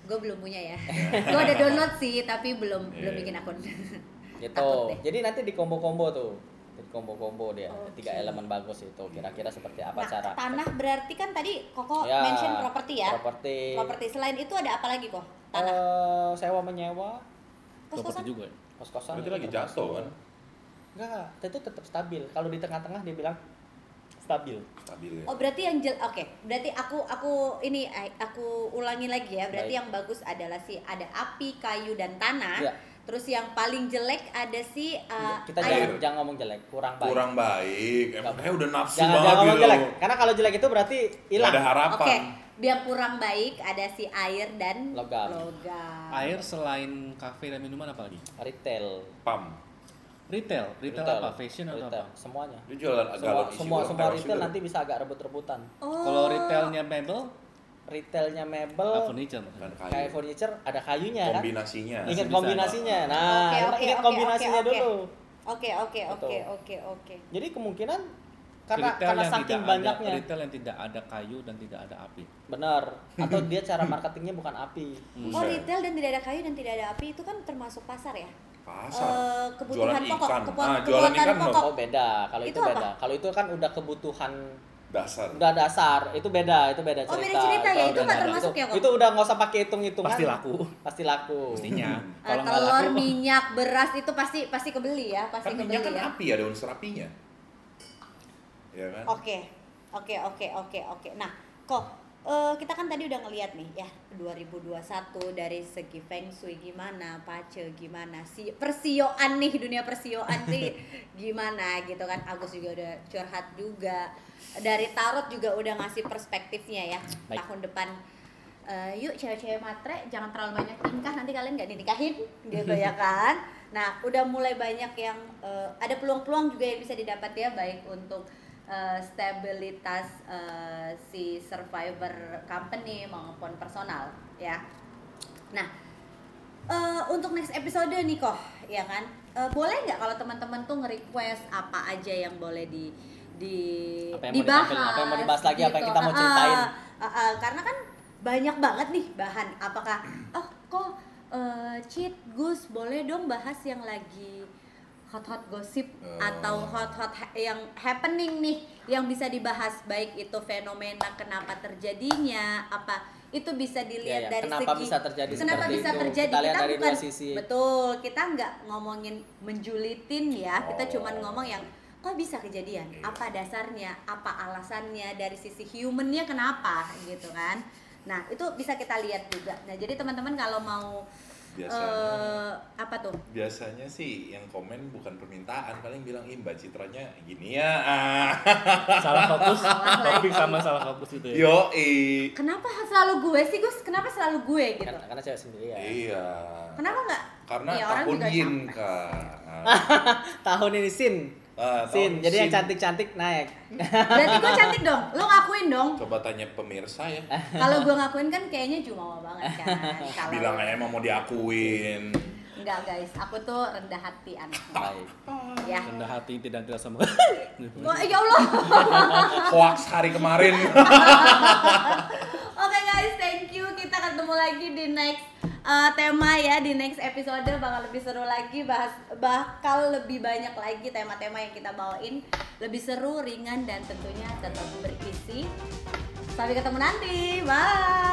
gue belum punya ya. gue udah download sih, tapi belum belum
Iya.
bikin akun.
Gitu.
Takut deh.
Jadi nanti di combo-combo tuh. Di combo-combo dia.
Oke.
Tiga elemen bagus itu. Kira-kira seperti apa
Nah,
cara?
tanah berarti kan tadi Koko
Ya,
mention properti ya.
Properti.
Properti. Selain itu ada apa lagi kok? Tanah.
Eh, sewa menyewa,
properti
Kos-kosan.
juga ya.
kos-kosan.
Berarti
itu
lagi
termasuk.
jatuh kan?
Enggak, itu tetap stabil. Kalau di tengah-tengah dia bilang stabil.
Stabil ya.
Oh berarti yang jel oke berarti aku aku ini eh, aku ulangi lagi ya berarti
Baik.
yang bagus adalah si ada api kayu dan tanah
Iya.
terus yang paling jelek ada si eh,
Ya, Kita
air
jangan, jangan ngomong jelek, kurang baik.
Kurang baik. Emang kayak udah nafsu
jangan jangan
banget
ngomong
gitu.
jelek karena kalau jelek itu berarti
Gak
hilang
ada harapan.
oke biar kurang baik ada si air dan
Logam.
logam.
air selain kafe dan minuman apa lagi
retail
Pam.
retail retail, apa fashion atau
Retail.
apa
semuanya
Dia jualan agak
semua
isi
semua,
goreng,
semua
terasi
retail
goreng.
nanti bisa agak rebut-rebutan
Oh,
kalau retailnya mebel
retailnya
ah,
mebel
furniture
Bukan
maksudnya.
kayak
kayu.
furniture ada kayunya kan
Kombinasinya.
ingat
Desain.
kombinasinya nah
Oke,
ingat-
oke,
ingat
oke,
kombinasinya
oke, oke.
dulu
oke oke oke
Betul.
oke oke
jadi kemungkinan karena
Retail
karena
yang
saking
tidak ada-
banyaknya
retail yang tidak ada kayu dan tidak ada api
benar
<laughs>
atau dia cara marketingnya bukan api
Hmm.
oh retail dan tidak ada kayu dan tidak ada api itu kan termasuk pasar ya
pasar
eh, kebutuhan
Jualan
pokok,
ikan.
kepo-
Ah, jualan
kebutuhan
ikan
pokok. Eh,
dong.
Oh beda, kalau itu,
Itu apa?
beda. Kalau itu kan udah kebutuhan
dasar
udah dasar, itu beda, itu beda
Oh,
cerita.
beda cerita ya, itu
beda,
nggak
beda.
termasuk
Itu-
ya, kok?
Itu udah nggak usah pakai hitung-hitungan.
Pasti laku.
Pasti laku. Iya,
Pastinya.
Eh,
Kalau nggak
telur,
laku,
minyak, beras itu pasti pasti kebeli ya, pasti
kan
kebeli
minyak kan
ya.
api ada unsur apinya ya kan
Oke, oke, oke, oke, oke. Nah, kok eh, kita kan tadi udah ngeliat nih ya 2021 dari segi Feng Shui gimana, Pace gimana, si persioan nih dunia persioan nih gimana gitu kan. Agus juga udah curhat juga. Dari tarot juga udah ngasih perspektifnya ya
Baik.
tahun depan. Eh, yuk cewek-cewek matre jangan terlalu banyak nikah nanti kalian nggak dinikahin gitu ya kan nah udah mulai banyak yang eh, ada peluang-peluang juga yang bisa didapat ya baik untuk eh, stabilitas eh, si survivor company maupun personal ya nah eh, untuk next episode nih kok ya kan Eh, boleh nggak kalau teman-teman tuh nge-request apa aja yang boleh di di
Apa yang mau
dibahas
ditampilkan, apa yang mau dibahas lagi, apa yang
gitu.
kita mau
Ah,
ceritain.
ah, ah, karena kan banyak banget nih bahan apakah oh kok eh, cheat Gus boleh dong bahas yang lagi hot-hot gosip
Oh.
atau hot-hot ha- yang happening nih yang bisa dibahas baik itu fenomena kenapa terjadinya apa itu bisa dilihat
Iya, iya.
dari
Kenapa
segi
bisa terjadi
kenapa
seperti
bisa
itu?
terjadi
Kita lihat dari dua
bukan
sisi.
betul kita nggak ngomongin menjulitin ya kita
Oh.
cuman ngomong yang kok bisa kejadian
Iya.
apa dasarnya apa alasannya dari sisi humannya kenapa gitu kan nah itu bisa kita lihat juga nah jadi teman-teman kalau mau
biasanya
eh, apa tuh
biasanya sih yang komen bukan permintaan paling bilang ih mbak citranya gini ya ah.
<laughs> salah fokus,
Salah
topik
lagi.
sama salah fokus
<laughs>
Iya.
itu ya.
yo
kenapa selalu gue sih Gus kenapa selalu gue gitu
Karena, karena cewek sendiri ya.
iya
kenapa nggak
karena
Ya, orang
tahun
juga
yin
capek.
kak
Tahun ini sin.
Ah,
Ah, Sin.
tahun
Jadi yang
Sin.
cantik-cantik naik.
berarti gue cantik dong lo ngakuin dong
coba tanya pemirsa ya
Eh.
kalau gue ngakuin kan kayaknya jumawa banget
<laughs>
kan kalau
bilang aja emang mau diakuin
enggak guys aku tuh rendah hati anaknya
Baik.
ya
Rendah hati tidak tidak sama.
Wah, ya Allah
hoax hari kemarin
Oke guys, thank you. Kita ketemu lagi di next uh, tema ya, di next episode bakal lebih seru lagi, bahas bakal lebih banyak lagi tema-tema yang kita bawain, lebih seru, ringan dan tentunya tetap berisi. Sampai ketemu nanti. Bye.